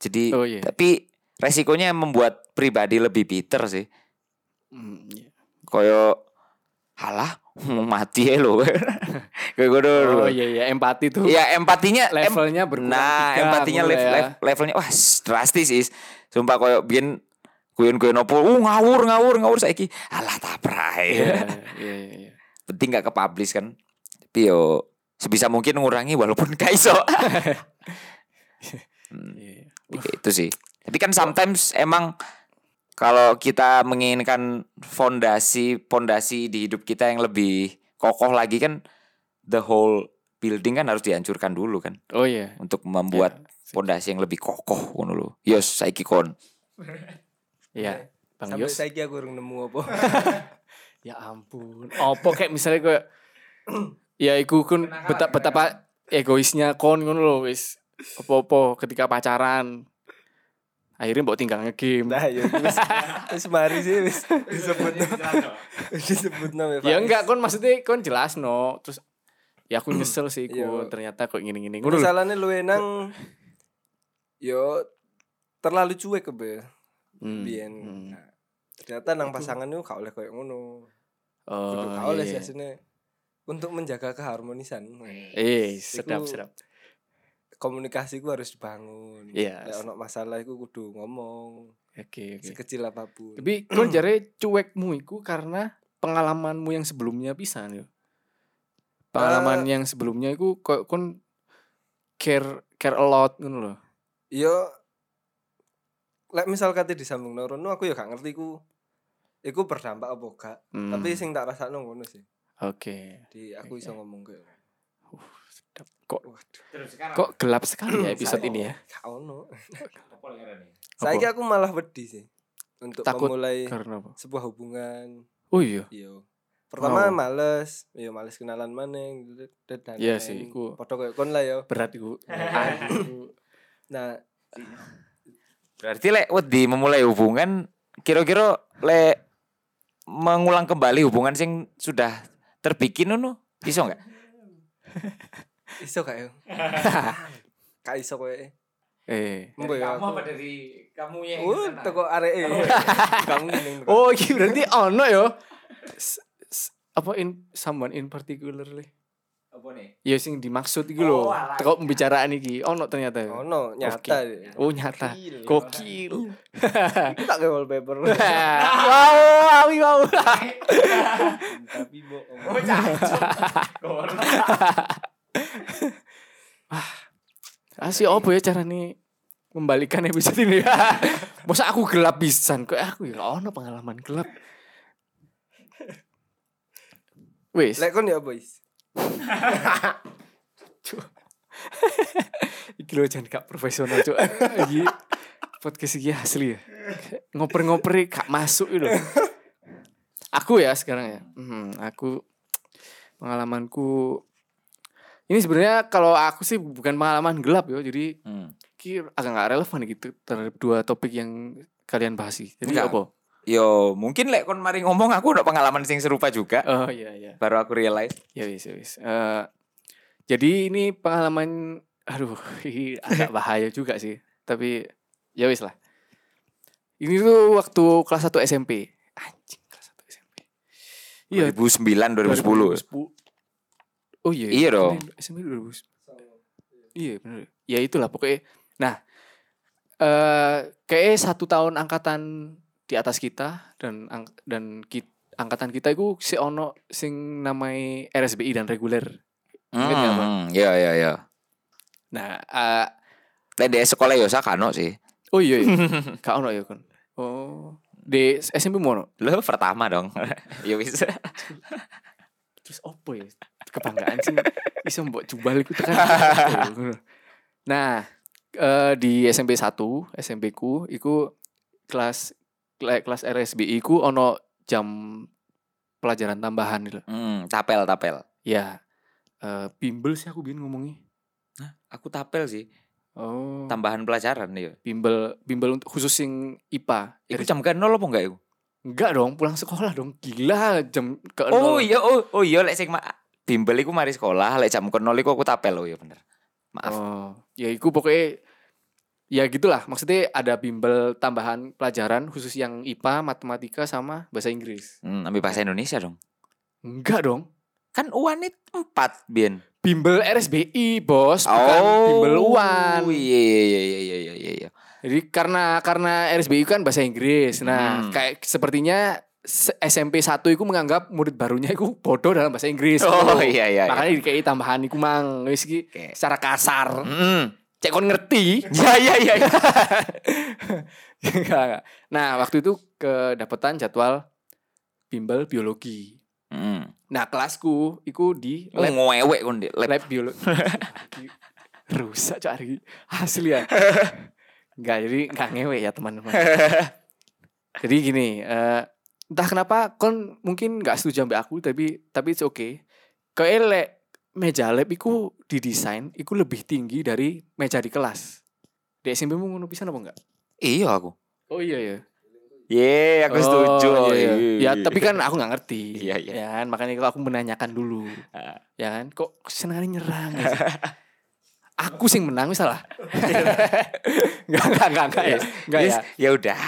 Speaker 1: Jadi
Speaker 2: Oh, iya.
Speaker 1: tapi resikonya membuat pribadi lebih bitter sih.
Speaker 2: Hmm, iya.
Speaker 1: Koyo halah mau mati ya lo. Kayak gitu. gue dulu.
Speaker 2: Oh iya iya empati tuh.
Speaker 1: Iya empatinya em-
Speaker 2: Levelnya berkurang
Speaker 1: Nah
Speaker 2: tiga,
Speaker 1: empatinya
Speaker 2: ngono
Speaker 1: lev-
Speaker 2: ya.
Speaker 1: lev- levelnya wah s- drastis is Sumpah koyo bian kuyon kuyon opo uh, ngawur ngawur ngawur saiki alah
Speaker 2: Iya,
Speaker 1: taprai
Speaker 2: iya, iya, iya.
Speaker 1: penting gak kepublish kan tapi yo sebisa mungkin ngurangi walaupun kaiso
Speaker 2: Iya, iya.
Speaker 1: itu sih tapi kan sometimes emang kalau kita menginginkan fondasi fondasi di hidup kita yang lebih kokoh lagi kan the whole building kan harus dihancurkan dulu kan
Speaker 2: Oh iya.
Speaker 1: untuk membuat pondasi yang lebih kokoh ngono lho. Yos saiki kon.
Speaker 2: Iya. Bang
Speaker 4: Sampai
Speaker 2: Yos.
Speaker 4: saiki aku urung nemu apa.
Speaker 2: Ya ampun. Opo kayak misalnya kayak ya iku kun beta, betapa egoisnya kon ngono lho wis. Opo-opo ketika pacaran. Akhirnya mbok tinggal nge-game.
Speaker 4: Nah, ya wis wis mari sih wis disebutno. Disebutno
Speaker 2: Ya
Speaker 4: ya.
Speaker 2: enggak kon maksudnya kon jelas no. Terus ya aku nyesel sih iku
Speaker 4: Iya.
Speaker 2: ternyata kok ngini-ngini ngono lho.
Speaker 4: Masalahnya lu enang yo terlalu cuek kebe
Speaker 2: Hmm,
Speaker 4: biyen.
Speaker 2: hmm.
Speaker 4: Nah, ternyata nang pasangan itu gak oleh koyo ngono. Kudu ya,
Speaker 2: Oh,
Speaker 4: gak
Speaker 2: iya,
Speaker 4: oleh
Speaker 2: iya.
Speaker 4: sih asine. untuk menjaga keharmonisan. Nah,
Speaker 2: Eh, sedap
Speaker 4: Iku-
Speaker 2: sedap.
Speaker 4: Komunikasi ku harus dibangun.
Speaker 2: Iya.
Speaker 4: Nek ono masalah iku kudu ngomong
Speaker 2: Oke, oke.
Speaker 4: sekecil apapun.
Speaker 2: Tapi kon jare cuekmu iku karena pengalamanmu yang sebelumnya pisan yo. Pengalaman
Speaker 4: Eh,
Speaker 2: yang sebelumnya iku kok kon care care a lot ngono lho.
Speaker 4: Yo lek misal kate disambung rono aku yo gak ngerti ku iku berdampak apa gak.
Speaker 2: Hmm,
Speaker 4: Tapi sing tak rasakno ngono sih.
Speaker 2: Oke.
Speaker 4: Di aku iso ngomong ke.
Speaker 2: Sedap. Kok
Speaker 4: Waduh,
Speaker 2: kok gelap sekali ya episode
Speaker 4: Saya-
Speaker 2: ini ya.
Speaker 4: gak ono.
Speaker 2: Apa?
Speaker 4: Saiki aku malah wedi sih untuk
Speaker 2: Takut
Speaker 4: memulai
Speaker 2: Karena apa?
Speaker 4: sebuah hubungan.
Speaker 2: Oh iya.
Speaker 4: Yo. Pertama
Speaker 2: Kenapa?
Speaker 4: males, yo males kenalan maneh dan
Speaker 2: Iya
Speaker 4: lain-lain.
Speaker 2: sih, iku-
Speaker 4: Padha koyo kon lah yo.
Speaker 2: Berat iku.
Speaker 4: Nah,
Speaker 1: Berarti lek wedi memulai hubungan kira-kira lek mengulang kembali hubungan sing sudah terbikin ngono iso enggak?
Speaker 4: iso gak yo? Gak iso koyo.
Speaker 2: eh.
Speaker 4: Mbok yo. aku-
Speaker 1: dari kamu
Speaker 4: Uh, toko areke. Gak mungkin.
Speaker 2: Oh, iki berarti ono yo. S- s- Apa in someone in particularly?
Speaker 1: Apa nih?
Speaker 2: Ya sing dimaksud iki
Speaker 1: Oh,
Speaker 2: lho.
Speaker 1: alah.
Speaker 2: Teko pembicaraan iki ono ternyata. ya.
Speaker 4: Oh no, nyata. dia.
Speaker 2: Oh nyata. Kokil.
Speaker 4: Aku tak kayak wallpaper.
Speaker 3: Iya.
Speaker 2: Wow, awi wow.
Speaker 3: Tapi bohong.
Speaker 2: Asih opo ya carane membalikan episode ini. Masa aku gelap pisan kok aku ya nggak ono pengalaman gelap. Wis.
Speaker 4: Lek kon ya boys.
Speaker 2: Iki lo jangan gak profesional cok Iki podcast iki asli ya Ngoper-ngoper gak masuk itu Aku ya sekarang ya hmm, Aku Pengalamanku Ini sebenarnya kalau aku sih bukan pengalaman gelap ya Jadi
Speaker 1: Hmm.
Speaker 2: ki agak gak relevan gitu Terhadap dua topik yang kalian bahas sih Jadi
Speaker 1: Enggak.
Speaker 2: apa?
Speaker 1: Yo, Ya, mungkin lek kon mari ngomong aku udah pengalaman sing serupa juga.
Speaker 2: Oh iya iya
Speaker 1: Baru aku realize.
Speaker 2: Ya wis, ya wis. Eh, jadi ini pengalaman aduh ini agak bahaya juga sih. Tapi ya wis lah. Ini tuh waktu kelas 1 SMP. Anjing kelas 1 SMP. Iya,
Speaker 1: 2009 2010.
Speaker 2: 2010. Oh iya.
Speaker 1: ya? Iya dong.
Speaker 2: SMP 2010. Iya bener Ya itulah pokoknya Nah eh Kayaknya satu tahun angkatan Di atas kita Dan ang- dan ki- angkatan kita itu Si ono sing namai RSBI dan reguler Ingat nggak, Bang?
Speaker 1: Hmm, iya iya iya.
Speaker 2: Nah eh,
Speaker 1: Lek di sekolah ya, yo sakano sih.
Speaker 2: Oh iya iya Kak ono ya kon Oh Di SMP mu ono
Speaker 1: Lo pertama dong. ya bisa.
Speaker 2: Terus opo ya Kebanggaan sih Bisa mbok jubal iku tekan apa ya? Nah eh Di SMP 1 SMP ku Iku Kelas kela- Kelas RSBI ku Ono jam Pelajaran tambahan gitu
Speaker 1: Hmm, tapel tapel.
Speaker 2: Ya eh Bimbel sih aku bikin ngomongnya
Speaker 1: Aku tapel sih.
Speaker 2: Oh
Speaker 1: Tambahan pelajaran yo.
Speaker 2: Bimbel Bimbel untuk khusus yang IPA
Speaker 1: Iku jam kan nol apa enggak iku?
Speaker 2: Enggak dong pulang sekolah dong Gila jam ke
Speaker 1: Oh
Speaker 2: nol.
Speaker 1: iya oh, oh iya lek sing ma- bimbel iku mari sekolah, lek jam kon nol iku aku tapel oh iya bener. Maaf.
Speaker 2: Oh, ya iku pokoknya ya gitulah. Maksudnya ada bimbel tambahan pelajaran khusus yang IPA, matematika sama bahasa Inggris.
Speaker 1: Hmm, ambil bahasa Indonesia dong.
Speaker 2: Enggak dong.
Speaker 1: Kan UAN itu 4, Bien.
Speaker 2: Bimbel RSBI, Bos, bukan bimbel UAN.
Speaker 1: Iya iya iya iya iya iya iya.
Speaker 2: Jadi karena karena RSBI kan bahasa Inggris.
Speaker 1: Hmm.
Speaker 2: Nah, kayak sepertinya se- SMP 1 itu menganggap murid barunya itu bodoh dalam bahasa Inggris.
Speaker 1: Oh
Speaker 2: Gitu.
Speaker 1: iya iya.
Speaker 2: Makanya dikei tambahan iku mang wis iki
Speaker 1: Oke.
Speaker 2: secara kasar.
Speaker 1: Heeh.
Speaker 2: Cek kon ngerti.
Speaker 1: Ya ya ya. ya.
Speaker 2: Enggak, enggak. Nah, waktu itu kedapetan jadwal bimbel biologi.
Speaker 1: Mm.
Speaker 2: Nah, kelasku iku di
Speaker 1: Oh,
Speaker 2: lab
Speaker 1: ngewek kon Dik. Lab.
Speaker 2: lab biologi. Rusak cok hari ini. asli ya. Enggak, jadi enggak ngewek ya, teman-teman. jadi gini, eh, entah kenapa kon mungkin enggak setuju ambil aku tapi tapi it's okay. Kayak lek meja lab iku didesain iku lebih tinggi dari meja di kelas. Di SMP mu ngono pisan apa enggak?
Speaker 1: Iya aku.
Speaker 2: Oh iya ya.
Speaker 1: Ye, aku
Speaker 2: Oh,
Speaker 1: setuju.
Speaker 2: iya, iya.
Speaker 1: Iya.
Speaker 2: Ya, tapi kan aku nggak ngerti.
Speaker 1: Iya, iya.
Speaker 2: Ya kan, makanya kalau aku menanyakan dulu. ya kan, kok senangnya nyerang. ya sih? aku sih yang menang wis salah. Enggak, enggak, enggak, enggak ya. Enggak
Speaker 1: Yes,
Speaker 2: ya.
Speaker 1: ya udah.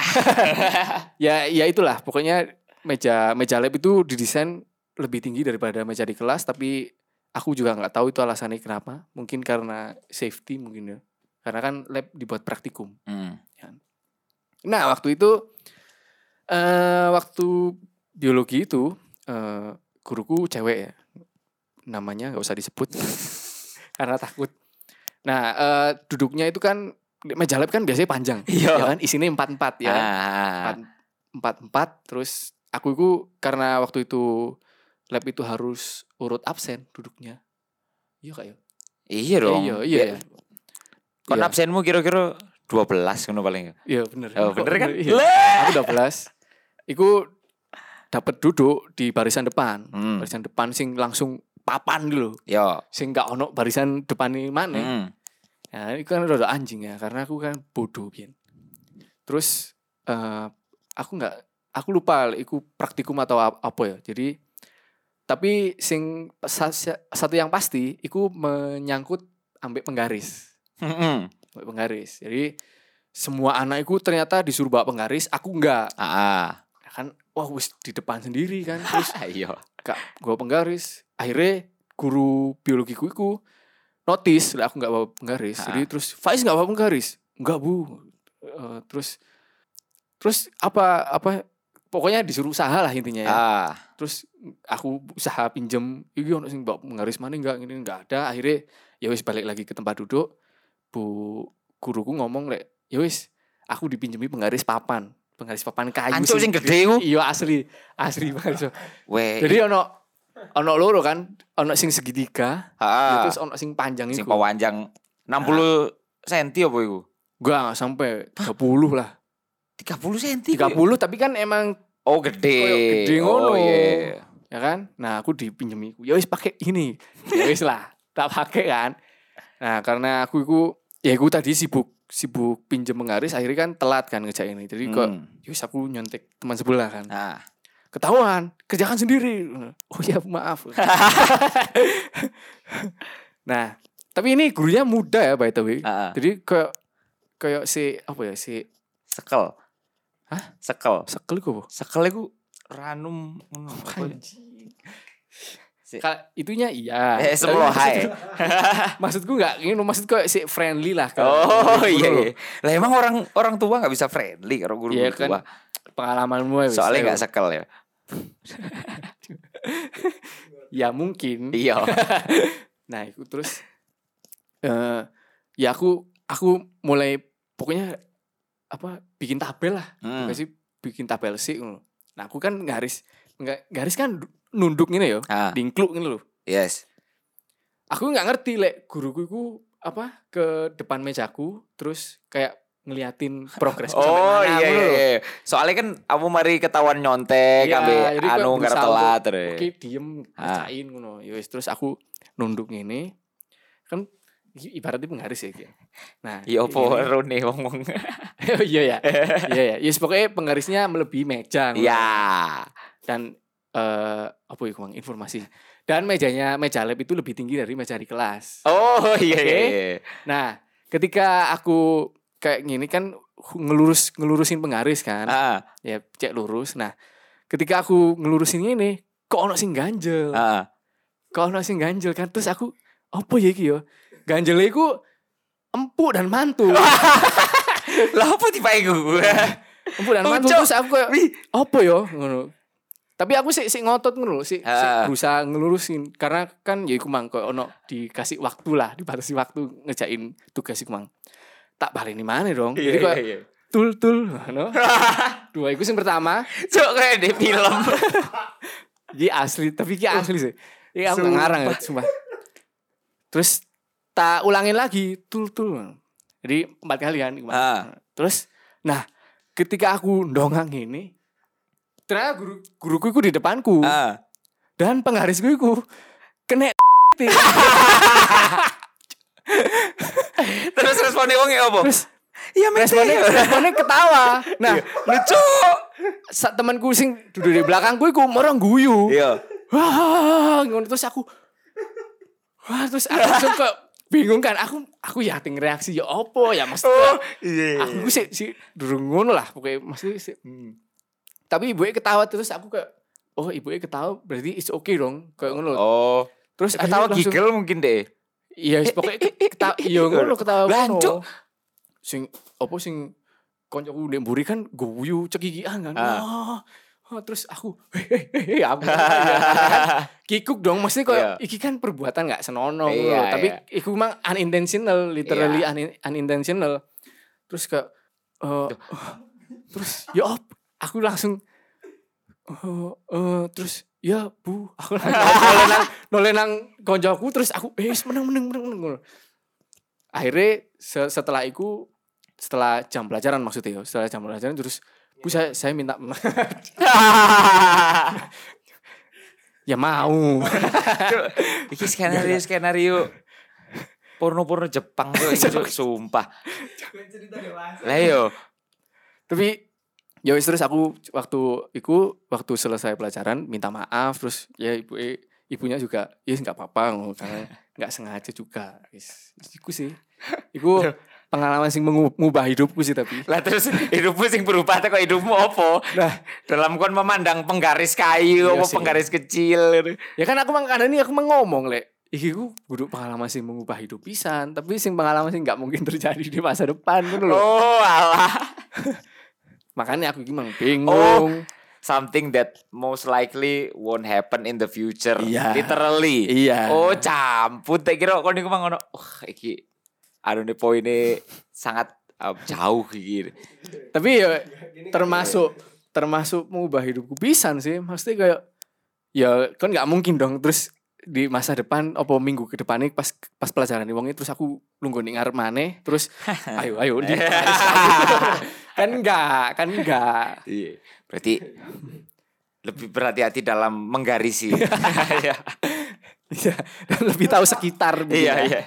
Speaker 2: Ya, ya itulah. Pokoknya meja meja lab itu didesain lebih tinggi daripada meja di kelas, tapi aku juga nggak tahu itu alasannya kenapa. Mungkin karena safety mungkin ya. Karena kan lab dibuat praktikum.
Speaker 1: Hmm.
Speaker 2: Nah waktu itu eh waktu biologi itu eh guruku cewek ya namanya nggak usah disebut karena takut. Nah eh duduknya itu kan meja lab kan biasanya panjang,
Speaker 1: Iya.
Speaker 2: ya kan isinya empat empat ya, kan?
Speaker 1: Ah.
Speaker 2: Empat- empat empat terus aku itu karena waktu itu lab itu harus urut absen duduknya. Iya kak ya?
Speaker 1: Iya dong.
Speaker 2: Iya iya.
Speaker 1: Ya, Kon
Speaker 2: Iya.
Speaker 1: absenmu kira-kira 12 ngono paling.
Speaker 2: Iya bener.
Speaker 1: Oh,
Speaker 2: Kok
Speaker 1: bener kan?
Speaker 2: Iya. Aku 12. Iku dapat duduk di barisan depan.
Speaker 1: Hmm.
Speaker 2: Barisan depan sing langsung papan gitu loh.
Speaker 1: Yo.
Speaker 2: Sing gak ono barisan depan ini mana.
Speaker 1: Hmm.
Speaker 2: Nah, itu kan udah anjing ya karena aku kan bodoh Bian. Terus eh aku nggak aku lupa iku praktikum atau ap- apa ya. Jadi tapi sing sa- sa- satu yang pasti iku menyangkut ambek penggaris
Speaker 1: Heeh.
Speaker 2: bawa penggaris. Jadi semua anakku ternyata disuruh bawa penggaris, aku enggak.
Speaker 1: Ah.
Speaker 2: Kan wah wis di depan sendiri kan. Terus
Speaker 1: Ayo.
Speaker 2: gak gua penggaris. Akhirnya guru biologiku iku notice lah aku nggak bawa penggaris.
Speaker 1: Ah.
Speaker 2: Jadi terus Faiz nggak bawa penggaris. Enggak, Bu. Eh, terus terus apa apa pokoknya disuruh usaha lah intinya ya.
Speaker 1: Ah,
Speaker 2: Terus aku usaha pinjem, iki ono sing bawa penggaris mana enggak ini enggak ada. Akhirnya ya wis balik lagi ke tempat duduk. Bu guruku ngomong lek, ya wis aku dipinjemi penggaris papan, penggaris papan kayu
Speaker 1: Ancuk sing gede iku. Eh.
Speaker 2: Iya asli, asli penggaris.
Speaker 1: weh.
Speaker 2: Jadi ono ono loro kan, ono sing segitiga,
Speaker 1: ah,
Speaker 2: terus ono sing panjang
Speaker 1: sing
Speaker 2: iku.
Speaker 1: panjang 60 senti apa iku?
Speaker 2: Enggak enggak sampai 30 lah.
Speaker 1: 30 senti. ya?
Speaker 2: 30 tapi kan emang
Speaker 1: Oh, gede.
Speaker 2: Koyok ya gede ngono.
Speaker 1: Oh, iya.
Speaker 2: ya kan nah aku dipinjemi ya wis pakai ini ya wis lah tak pakai kan nah karena aku itu ya aku tadi sibuk sibuk pinjem mengaris akhirnya kan telat kan ngejain ini jadi kok
Speaker 1: Hmm.
Speaker 2: ya wis aku nyontek teman sebelah kan
Speaker 1: Nah,
Speaker 2: ketahuan kerjakan sendiri oh ya maaf nah tapi ini gurunya muda ya by the way
Speaker 1: ah, ah.
Speaker 2: jadi kayak kayak si apa ya si
Speaker 1: sekel.
Speaker 2: Hah?
Speaker 1: Sekel.
Speaker 2: sekel gue
Speaker 1: Sekel iku ranum ngono.
Speaker 2: itunya iya
Speaker 1: Eh,
Speaker 2: Tapi
Speaker 1: semelohai.
Speaker 2: maksudku nggak ini maksudku kayak si friendly lah ke
Speaker 1: Oh
Speaker 2: guru-guru.
Speaker 1: iya, iya. Lah emang orang orang tua nggak bisa friendly kalau guru guru
Speaker 2: Iya kan
Speaker 1: tua.
Speaker 2: pengalamanmu ya wis.
Speaker 1: Soalnya
Speaker 2: Ayo.
Speaker 1: nggak sekel ya.
Speaker 2: ya mungkin
Speaker 1: Iya.
Speaker 2: nah itu terus eh ya aku aku mulai pokoknya apa bikin tabel lah
Speaker 1: Hmm.
Speaker 2: Pasti bikin tabel sih ngono. nah aku kan garis nggak garis kan nunduk ini yo
Speaker 1: Ah,
Speaker 2: dingkluk ini loh
Speaker 1: yes.
Speaker 2: aku nggak ngerti lek guruku itu apa ke depan mejaku terus kayak ngeliatin progres
Speaker 1: Oh iya, iya, iya. Soalnya kan kamu mari ketahuan nyontek,
Speaker 2: Iya,
Speaker 1: ambil
Speaker 2: jadi
Speaker 1: anu
Speaker 2: kayak
Speaker 1: karena
Speaker 2: berusaha
Speaker 1: telat. Iya, re.
Speaker 2: Oke, diem
Speaker 1: Ah.
Speaker 2: ngecain ngono. Ya wis terus aku nunduk ngene. Kan i- ibaratnya penggaris ya iki. Nah,
Speaker 1: Iya
Speaker 2: ini-
Speaker 1: opo rune ngomong.
Speaker 2: Oh, iya ya. Iya ya. Yes, pokoknya penggarisnya melebihi meja. ngono.
Speaker 1: Iya.
Speaker 2: Dan eh apa ya Bang, informasi. Dan mejanya meja lab itu lebih tinggi dari meja di kelas.
Speaker 1: Oh iya iya.
Speaker 2: Oke.
Speaker 1: iya.
Speaker 2: Nah, ketika aku kayak gini kan hu- ngelurus ngelurusin penggaris kan.
Speaker 1: Ah,
Speaker 2: Ya cek lurus. Nah, ketika aku ngelurusin ini kok ono sing ganjel.
Speaker 1: ah.
Speaker 2: kok ono sing ganjel kan terus aku opo ya iki yo ganjel iku empuk dan mantul
Speaker 1: Lah apa tipe iku?
Speaker 2: empuk dan mantul
Speaker 1: Ucok.
Speaker 2: terus aku kayak
Speaker 1: Wih.
Speaker 2: opo yo ngono tapi aku sih sih ngotot ngono lho, sih sih
Speaker 1: Ah.
Speaker 2: berusaha ngelurusin karena kan ya iku mang koyo ono dikasih waktu lah dibatasi waktu ngejain tugas iku mang tak baleni mana dong jadi kayak
Speaker 1: iya.
Speaker 2: tul tul ngono dua iku sing pertama
Speaker 1: Cok kayak di film.
Speaker 2: Iki asli, tapi iki asli sih. Iya aku nggak ngarang ya, sumpah. Terus tak ulangin lagi, tul tul. Jadi empat kali kan. Iqbal.
Speaker 1: Ah.
Speaker 2: Terus, nah ketika aku dongeng ini, ternyata guru guruku itu di depanku
Speaker 1: Ah.
Speaker 2: dan penggarisku itu kena.
Speaker 1: Terus responnya wongnya apa?
Speaker 2: Terus
Speaker 1: Iya
Speaker 2: responnya, responnya ketawa. Nah,
Speaker 1: lucu.
Speaker 2: saat temanku sing duduk di belakangku itu orang guyu.
Speaker 1: Iya.
Speaker 2: wah ngono terus aku wah terus aku langsung ke bingung kan aku aku ya ting reaksi ya opo ya mas
Speaker 1: Oh, Iya.
Speaker 2: aku sih si durung ngono lah pokoknya maksudnya sih hmm. tapi ibu ketawa terus aku kayak oh ibu ketawa berarti it's okay dong kayak ngono loh.
Speaker 1: Oh.
Speaker 2: terus
Speaker 1: Ketawa
Speaker 2: akhirnya langsung-
Speaker 1: giggle mungkin deh.
Speaker 2: iya pokoknya ketawa iya ngono ketawa
Speaker 1: Bancuk.
Speaker 2: ngono. sing opo sing koncoku ndek mburi kan guyu cekikian kan
Speaker 1: Ah.
Speaker 2: Wah. Wah, terus aku hehehe aku ya, kikuk dong maksudnya kok
Speaker 1: Iya.
Speaker 2: iki kan perbuatan nggak senono
Speaker 1: Iya,
Speaker 2: loh. tapi
Speaker 1: iya.
Speaker 2: iku memang unintentional literally unin- unintentional terus kayak eh, eh, terus ya op aku langsung eh, eh, terus ya bu aku langsung nolenang nolenang konjoku terus aku eh menang menang menang menang ngono. akhirnya se- setelah iku setelah jam pelajaran maksudnya ya setelah jam pelajaran terus bu
Speaker 1: Iya.
Speaker 2: saya saya minta iya, ya mau
Speaker 1: Iki
Speaker 2: Nah,
Speaker 1: skenario skenario porno-porno Jepang tuh ini, Cuk. sumpah.
Speaker 3: cerita dewasa.
Speaker 1: Lah iya. yo.
Speaker 2: tapi ya wis terus aku waktu iku waktu selesai pelajaran minta maaf terus ya ibu e- ibunya juga kan, ya nggak apa-apa ngono, karena nggak sengaja juga Wis, iku sih iku pengalaman sing mengubah hidupku sih tapi
Speaker 1: Lah terus hidupmu sing berubah teko hidupmu opo?
Speaker 2: Nah.
Speaker 1: dalam kon memandang penggaris kayu
Speaker 2: Iya
Speaker 1: opo
Speaker 2: sih.
Speaker 1: penggaris kecil gitu.
Speaker 2: ya kan aku mang kadang ini aku mang ngomong lek iki ku kudu pengalaman sing mengubah hidup pisan tapi sing pengalaman sing nggak mungkin terjadi di masa depan kan loh
Speaker 1: Oh, alah.
Speaker 2: makanya aku iki mang bingung
Speaker 1: Oh. Something that most likely won't happen in the future.
Speaker 2: Iya.
Speaker 1: Literally.
Speaker 2: iya
Speaker 1: Oh, campur. Tak kira kon niku mang ngono. Wah, iki anu ne poine sangat uh, jauh iki.
Speaker 2: tapi ya termasuk termasuk mengubah hidupku pisan sih maksudnya kayak ya kan nggak mungkin dong terus di masa depan apa minggu ke depannya pas pas pelajaran wong terus aku nunggu nih ngarep maneh terus ayo ayo di kan enggak kan enggak
Speaker 1: Iya. Berarti lebih berhati-hati dalam menggarisi. Iya.
Speaker 2: Iya, dan lebih tahu sekitar gitu
Speaker 1: Iya,
Speaker 2: ya.
Speaker 1: iya.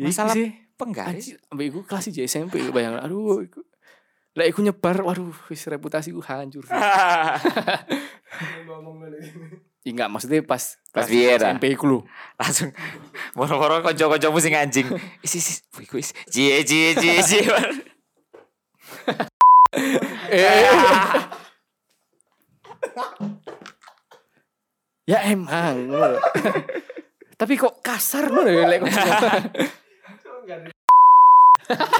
Speaker 2: Iya
Speaker 1: Masalah
Speaker 2: sih.
Speaker 1: Penggaris.
Speaker 2: Anjir, sampai iku kelas di SMP iku bayang. Aduh, iku. Lah iku nyebar, waduh, wis reputasi iku hancur.
Speaker 4: ngomong
Speaker 2: Ya enggak, maksudnya pas
Speaker 1: Pas biyen, ah.
Speaker 2: SMP iku lho.
Speaker 1: langsung moro-moro konco-konco musik anjing is is is wih wih cie cie cie cie
Speaker 2: Eh. ya emang. ngono lho. Tapi kok kasar ngono ya lek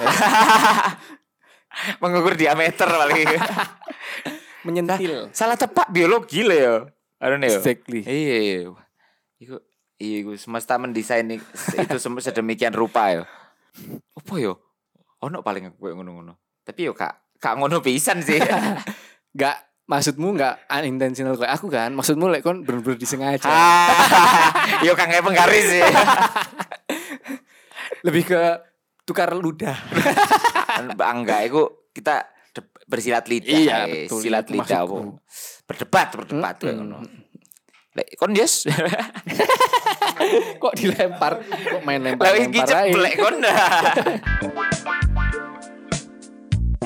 Speaker 1: mengukur diameter paling
Speaker 2: menyentil.
Speaker 1: salah tepat biologi lah ya aduh nih
Speaker 2: Exactly.
Speaker 1: iya iya iku iya iku semesta mendesain i- itu sem- sedemikian rupa ya apa yo ono paling aku kayak ngono-ngono tapi yo kak kak ngono pisan sih
Speaker 2: Enggak maksudmu enggak unintentional kayak aku kan? Maksudmu lek kon bener-bener disengaja.
Speaker 1: Ah, yo kak kayak penggaris sih
Speaker 2: Lebih ke tukar ludah.
Speaker 1: enggak iku kita de- bersilat lidah eh, silat
Speaker 2: Iya, itu
Speaker 1: lidah
Speaker 2: maksudku. Hmm.
Speaker 1: apa berdebat berdebat kayak ngono. Lek kon yes.
Speaker 2: kok dilempar kok main
Speaker 1: Lah
Speaker 2: lempar
Speaker 1: iki
Speaker 2: lempar aja
Speaker 1: jeblek kon.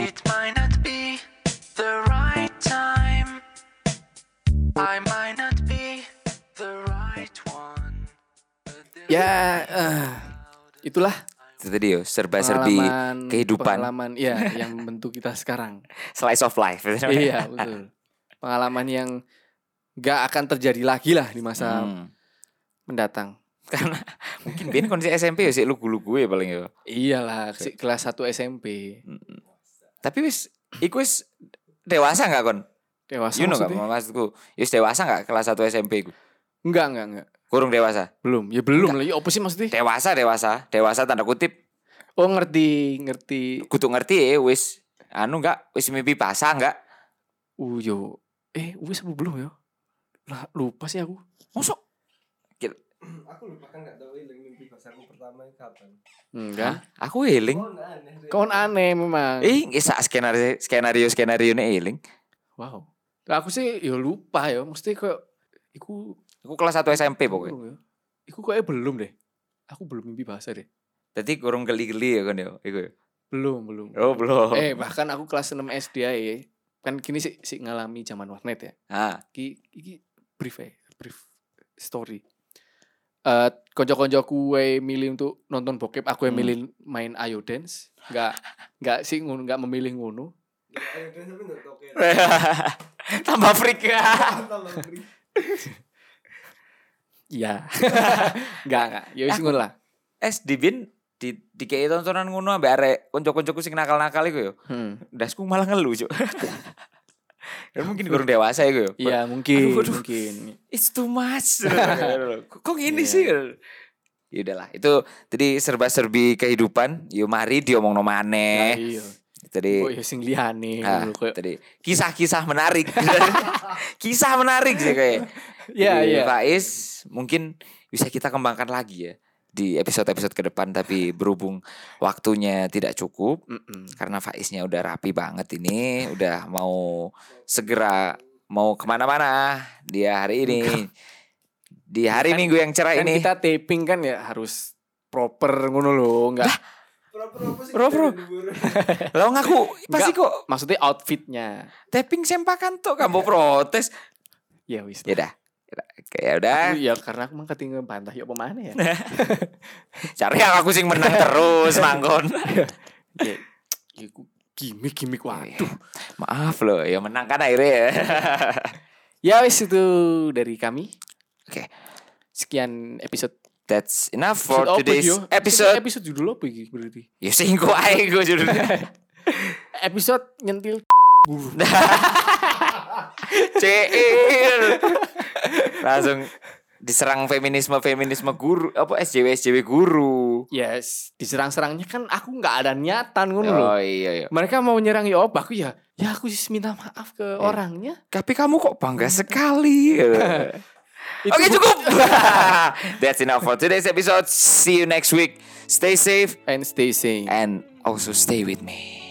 Speaker 5: It might not be the right time. I might not be the right one. But there
Speaker 2: ya eh, itulah
Speaker 1: Itu tadi yo serba-serbi
Speaker 2: pengalaman-
Speaker 1: kehidupan
Speaker 2: pengalaman ya yang membentuk kita sekarang
Speaker 1: slice of life.
Speaker 2: iya betul pengalaman yang gak akan terjadi lagi lah di masa
Speaker 1: Hmm.
Speaker 2: mendatang
Speaker 1: Karena mungkin biyen kondisi SMP yo sik lugu-lugu ya paling yo.
Speaker 2: iyalah Hmm. si kelas 1 SMP
Speaker 1: Tapi wis iku wis dewasa enggak kon?
Speaker 2: dewasa
Speaker 1: You know enggak
Speaker 2: maksudnya?
Speaker 1: maksudku? Wis dewasa enggak kelas 1 SMP iku?
Speaker 2: enggak enggak enggak
Speaker 1: Kurung dewasa.
Speaker 2: belum ya belum lagi apa sih maksudnya
Speaker 1: Dewasa dewasa, dewasa tanda kutip
Speaker 2: oh ngerti ngerti
Speaker 1: kudu ngerti ya wis anu enggak wis mimpi basah enggak
Speaker 2: uyo Uh, eh wis apa belum ya lah lupa sih aku
Speaker 1: Masuk
Speaker 4: Aku lupa kan gak tahu ilang mimpi basarku pertama itu kapan.
Speaker 2: enggak
Speaker 1: Kan? aku eling
Speaker 4: Oh, nah, aneh. deh.
Speaker 2: Kon aneh memang.
Speaker 1: Eh, nggih sak skenario skenario skenario ini eling.
Speaker 2: Wow. Lah aku sih ya lupa ya, mesti kayak iku
Speaker 1: Aku kelas 1 SMP pokoknya.
Speaker 2: belum ya. Iku kayaknya belum deh. Aku belum mimpi bahasa deh.
Speaker 1: Tadi kurang geli-geli ya kan ya, iku ya.
Speaker 2: Belum, belum.
Speaker 1: Oh, belum.
Speaker 2: Eh, bahkan aku kelas 6 SD aja. Kan kini sih sih ngalami zaman warnet ya.
Speaker 1: Ah,
Speaker 2: Ki iki brief ya, brief story. Eh, konco-konco kue milih untuk nonton bokep, aku yang
Speaker 1: Hmm.
Speaker 2: milih main ayo dance. Enggak enggak sih ngono, enggak memilih ngono.
Speaker 4: Ayo, terus aku nggak tahu kayak-
Speaker 1: Tambah freak.
Speaker 4: Tolong, beri.
Speaker 2: Iya. enggak, enggak. Ya wis
Speaker 1: Aku-
Speaker 2: ngono lah.
Speaker 1: SD bin di dikei tontonan ngono ambek arek kanca-kancaku sing nakal-nakal iku ya.
Speaker 2: Hmm.
Speaker 1: Dasku malah ngeluh, Cuk. Ya mungkin kurang dewasa iku ya.
Speaker 2: Iya mungkin,
Speaker 1: Aduh, aduh.
Speaker 2: mungkin.
Speaker 1: It's too much. Kok kok ngene
Speaker 2: Iya.
Speaker 1: sih? Ya udahlah, itu tadi serba-serbi kehidupan. Yo mari diomongno
Speaker 2: Nah,
Speaker 1: maneh.
Speaker 2: iya.
Speaker 1: Tadi
Speaker 2: Oh, ya sing liyane
Speaker 1: Ah,
Speaker 2: ngono koyo.
Speaker 1: tadi kisah-kisah menarik. kisah menarik sih kayak.
Speaker 2: Iya,
Speaker 1: Jadi,
Speaker 2: iya.
Speaker 1: Faiz mungkin bisa kita kembangkan lagi ya di episode-episode ke depan tapi berhubung waktunya tidak cukup
Speaker 2: Mm-mm.
Speaker 1: karena Faiznya udah rapi banget ini, udah mau segera mau kemana-mana dia hari ini di hari
Speaker 2: Kan-
Speaker 1: Minggu yang cerah
Speaker 2: Kan
Speaker 1: ini.
Speaker 2: kita taping kan ya harus proper ngono lho, enggak
Speaker 4: Pro-pro apa sih?
Speaker 1: Pro- pro.
Speaker 4: Kita diburu.
Speaker 1: Lo ngaku pasti
Speaker 2: Enggak.
Speaker 1: kok
Speaker 2: maksudnya outfitnya.
Speaker 1: tapping sempakan tuh kamu protes.
Speaker 2: Ya wis.
Speaker 1: Ya dah. Kayak udah,
Speaker 2: Aku ya karena aku mangkat ngebantah ya apa mana ya.
Speaker 1: Nah. cari yang aku sing menang terus mangkon.
Speaker 2: ya iku gimik-gimik
Speaker 1: Iya,
Speaker 2: waduh.
Speaker 1: Maaf loh, ya menang kan akhirnya ya.
Speaker 2: Ya wis itu dari kami.
Speaker 1: iya. Oke.
Speaker 2: Sekian episode
Speaker 1: That's enough for
Speaker 2: Episode apa
Speaker 1: today's
Speaker 2: iki, yo?
Speaker 1: episode.
Speaker 2: episode judul apa iki berarti?
Speaker 1: Ya singko ae gue judulnya.
Speaker 2: Episode nyentil E.
Speaker 1: CR. Langsung diserang feminisme feminisme guru apa SJW SJW guru.
Speaker 2: Yes, diserang-serangnya kan aku nggak ada niatan ngono loh.
Speaker 1: Oh iya iya.
Speaker 2: Mereka mau nyerang ya apa aku ya. Ya aku sih minta maaf
Speaker 1: Iya.
Speaker 2: ke orangnya.
Speaker 1: Tapi kamu kok bangga sekali.
Speaker 2: Itu
Speaker 1: Oke
Speaker 2: bu-
Speaker 1: cukup. That's enough for today's episode. See you next week. Stay safe
Speaker 2: And stay safe.
Speaker 1: and also stay with me.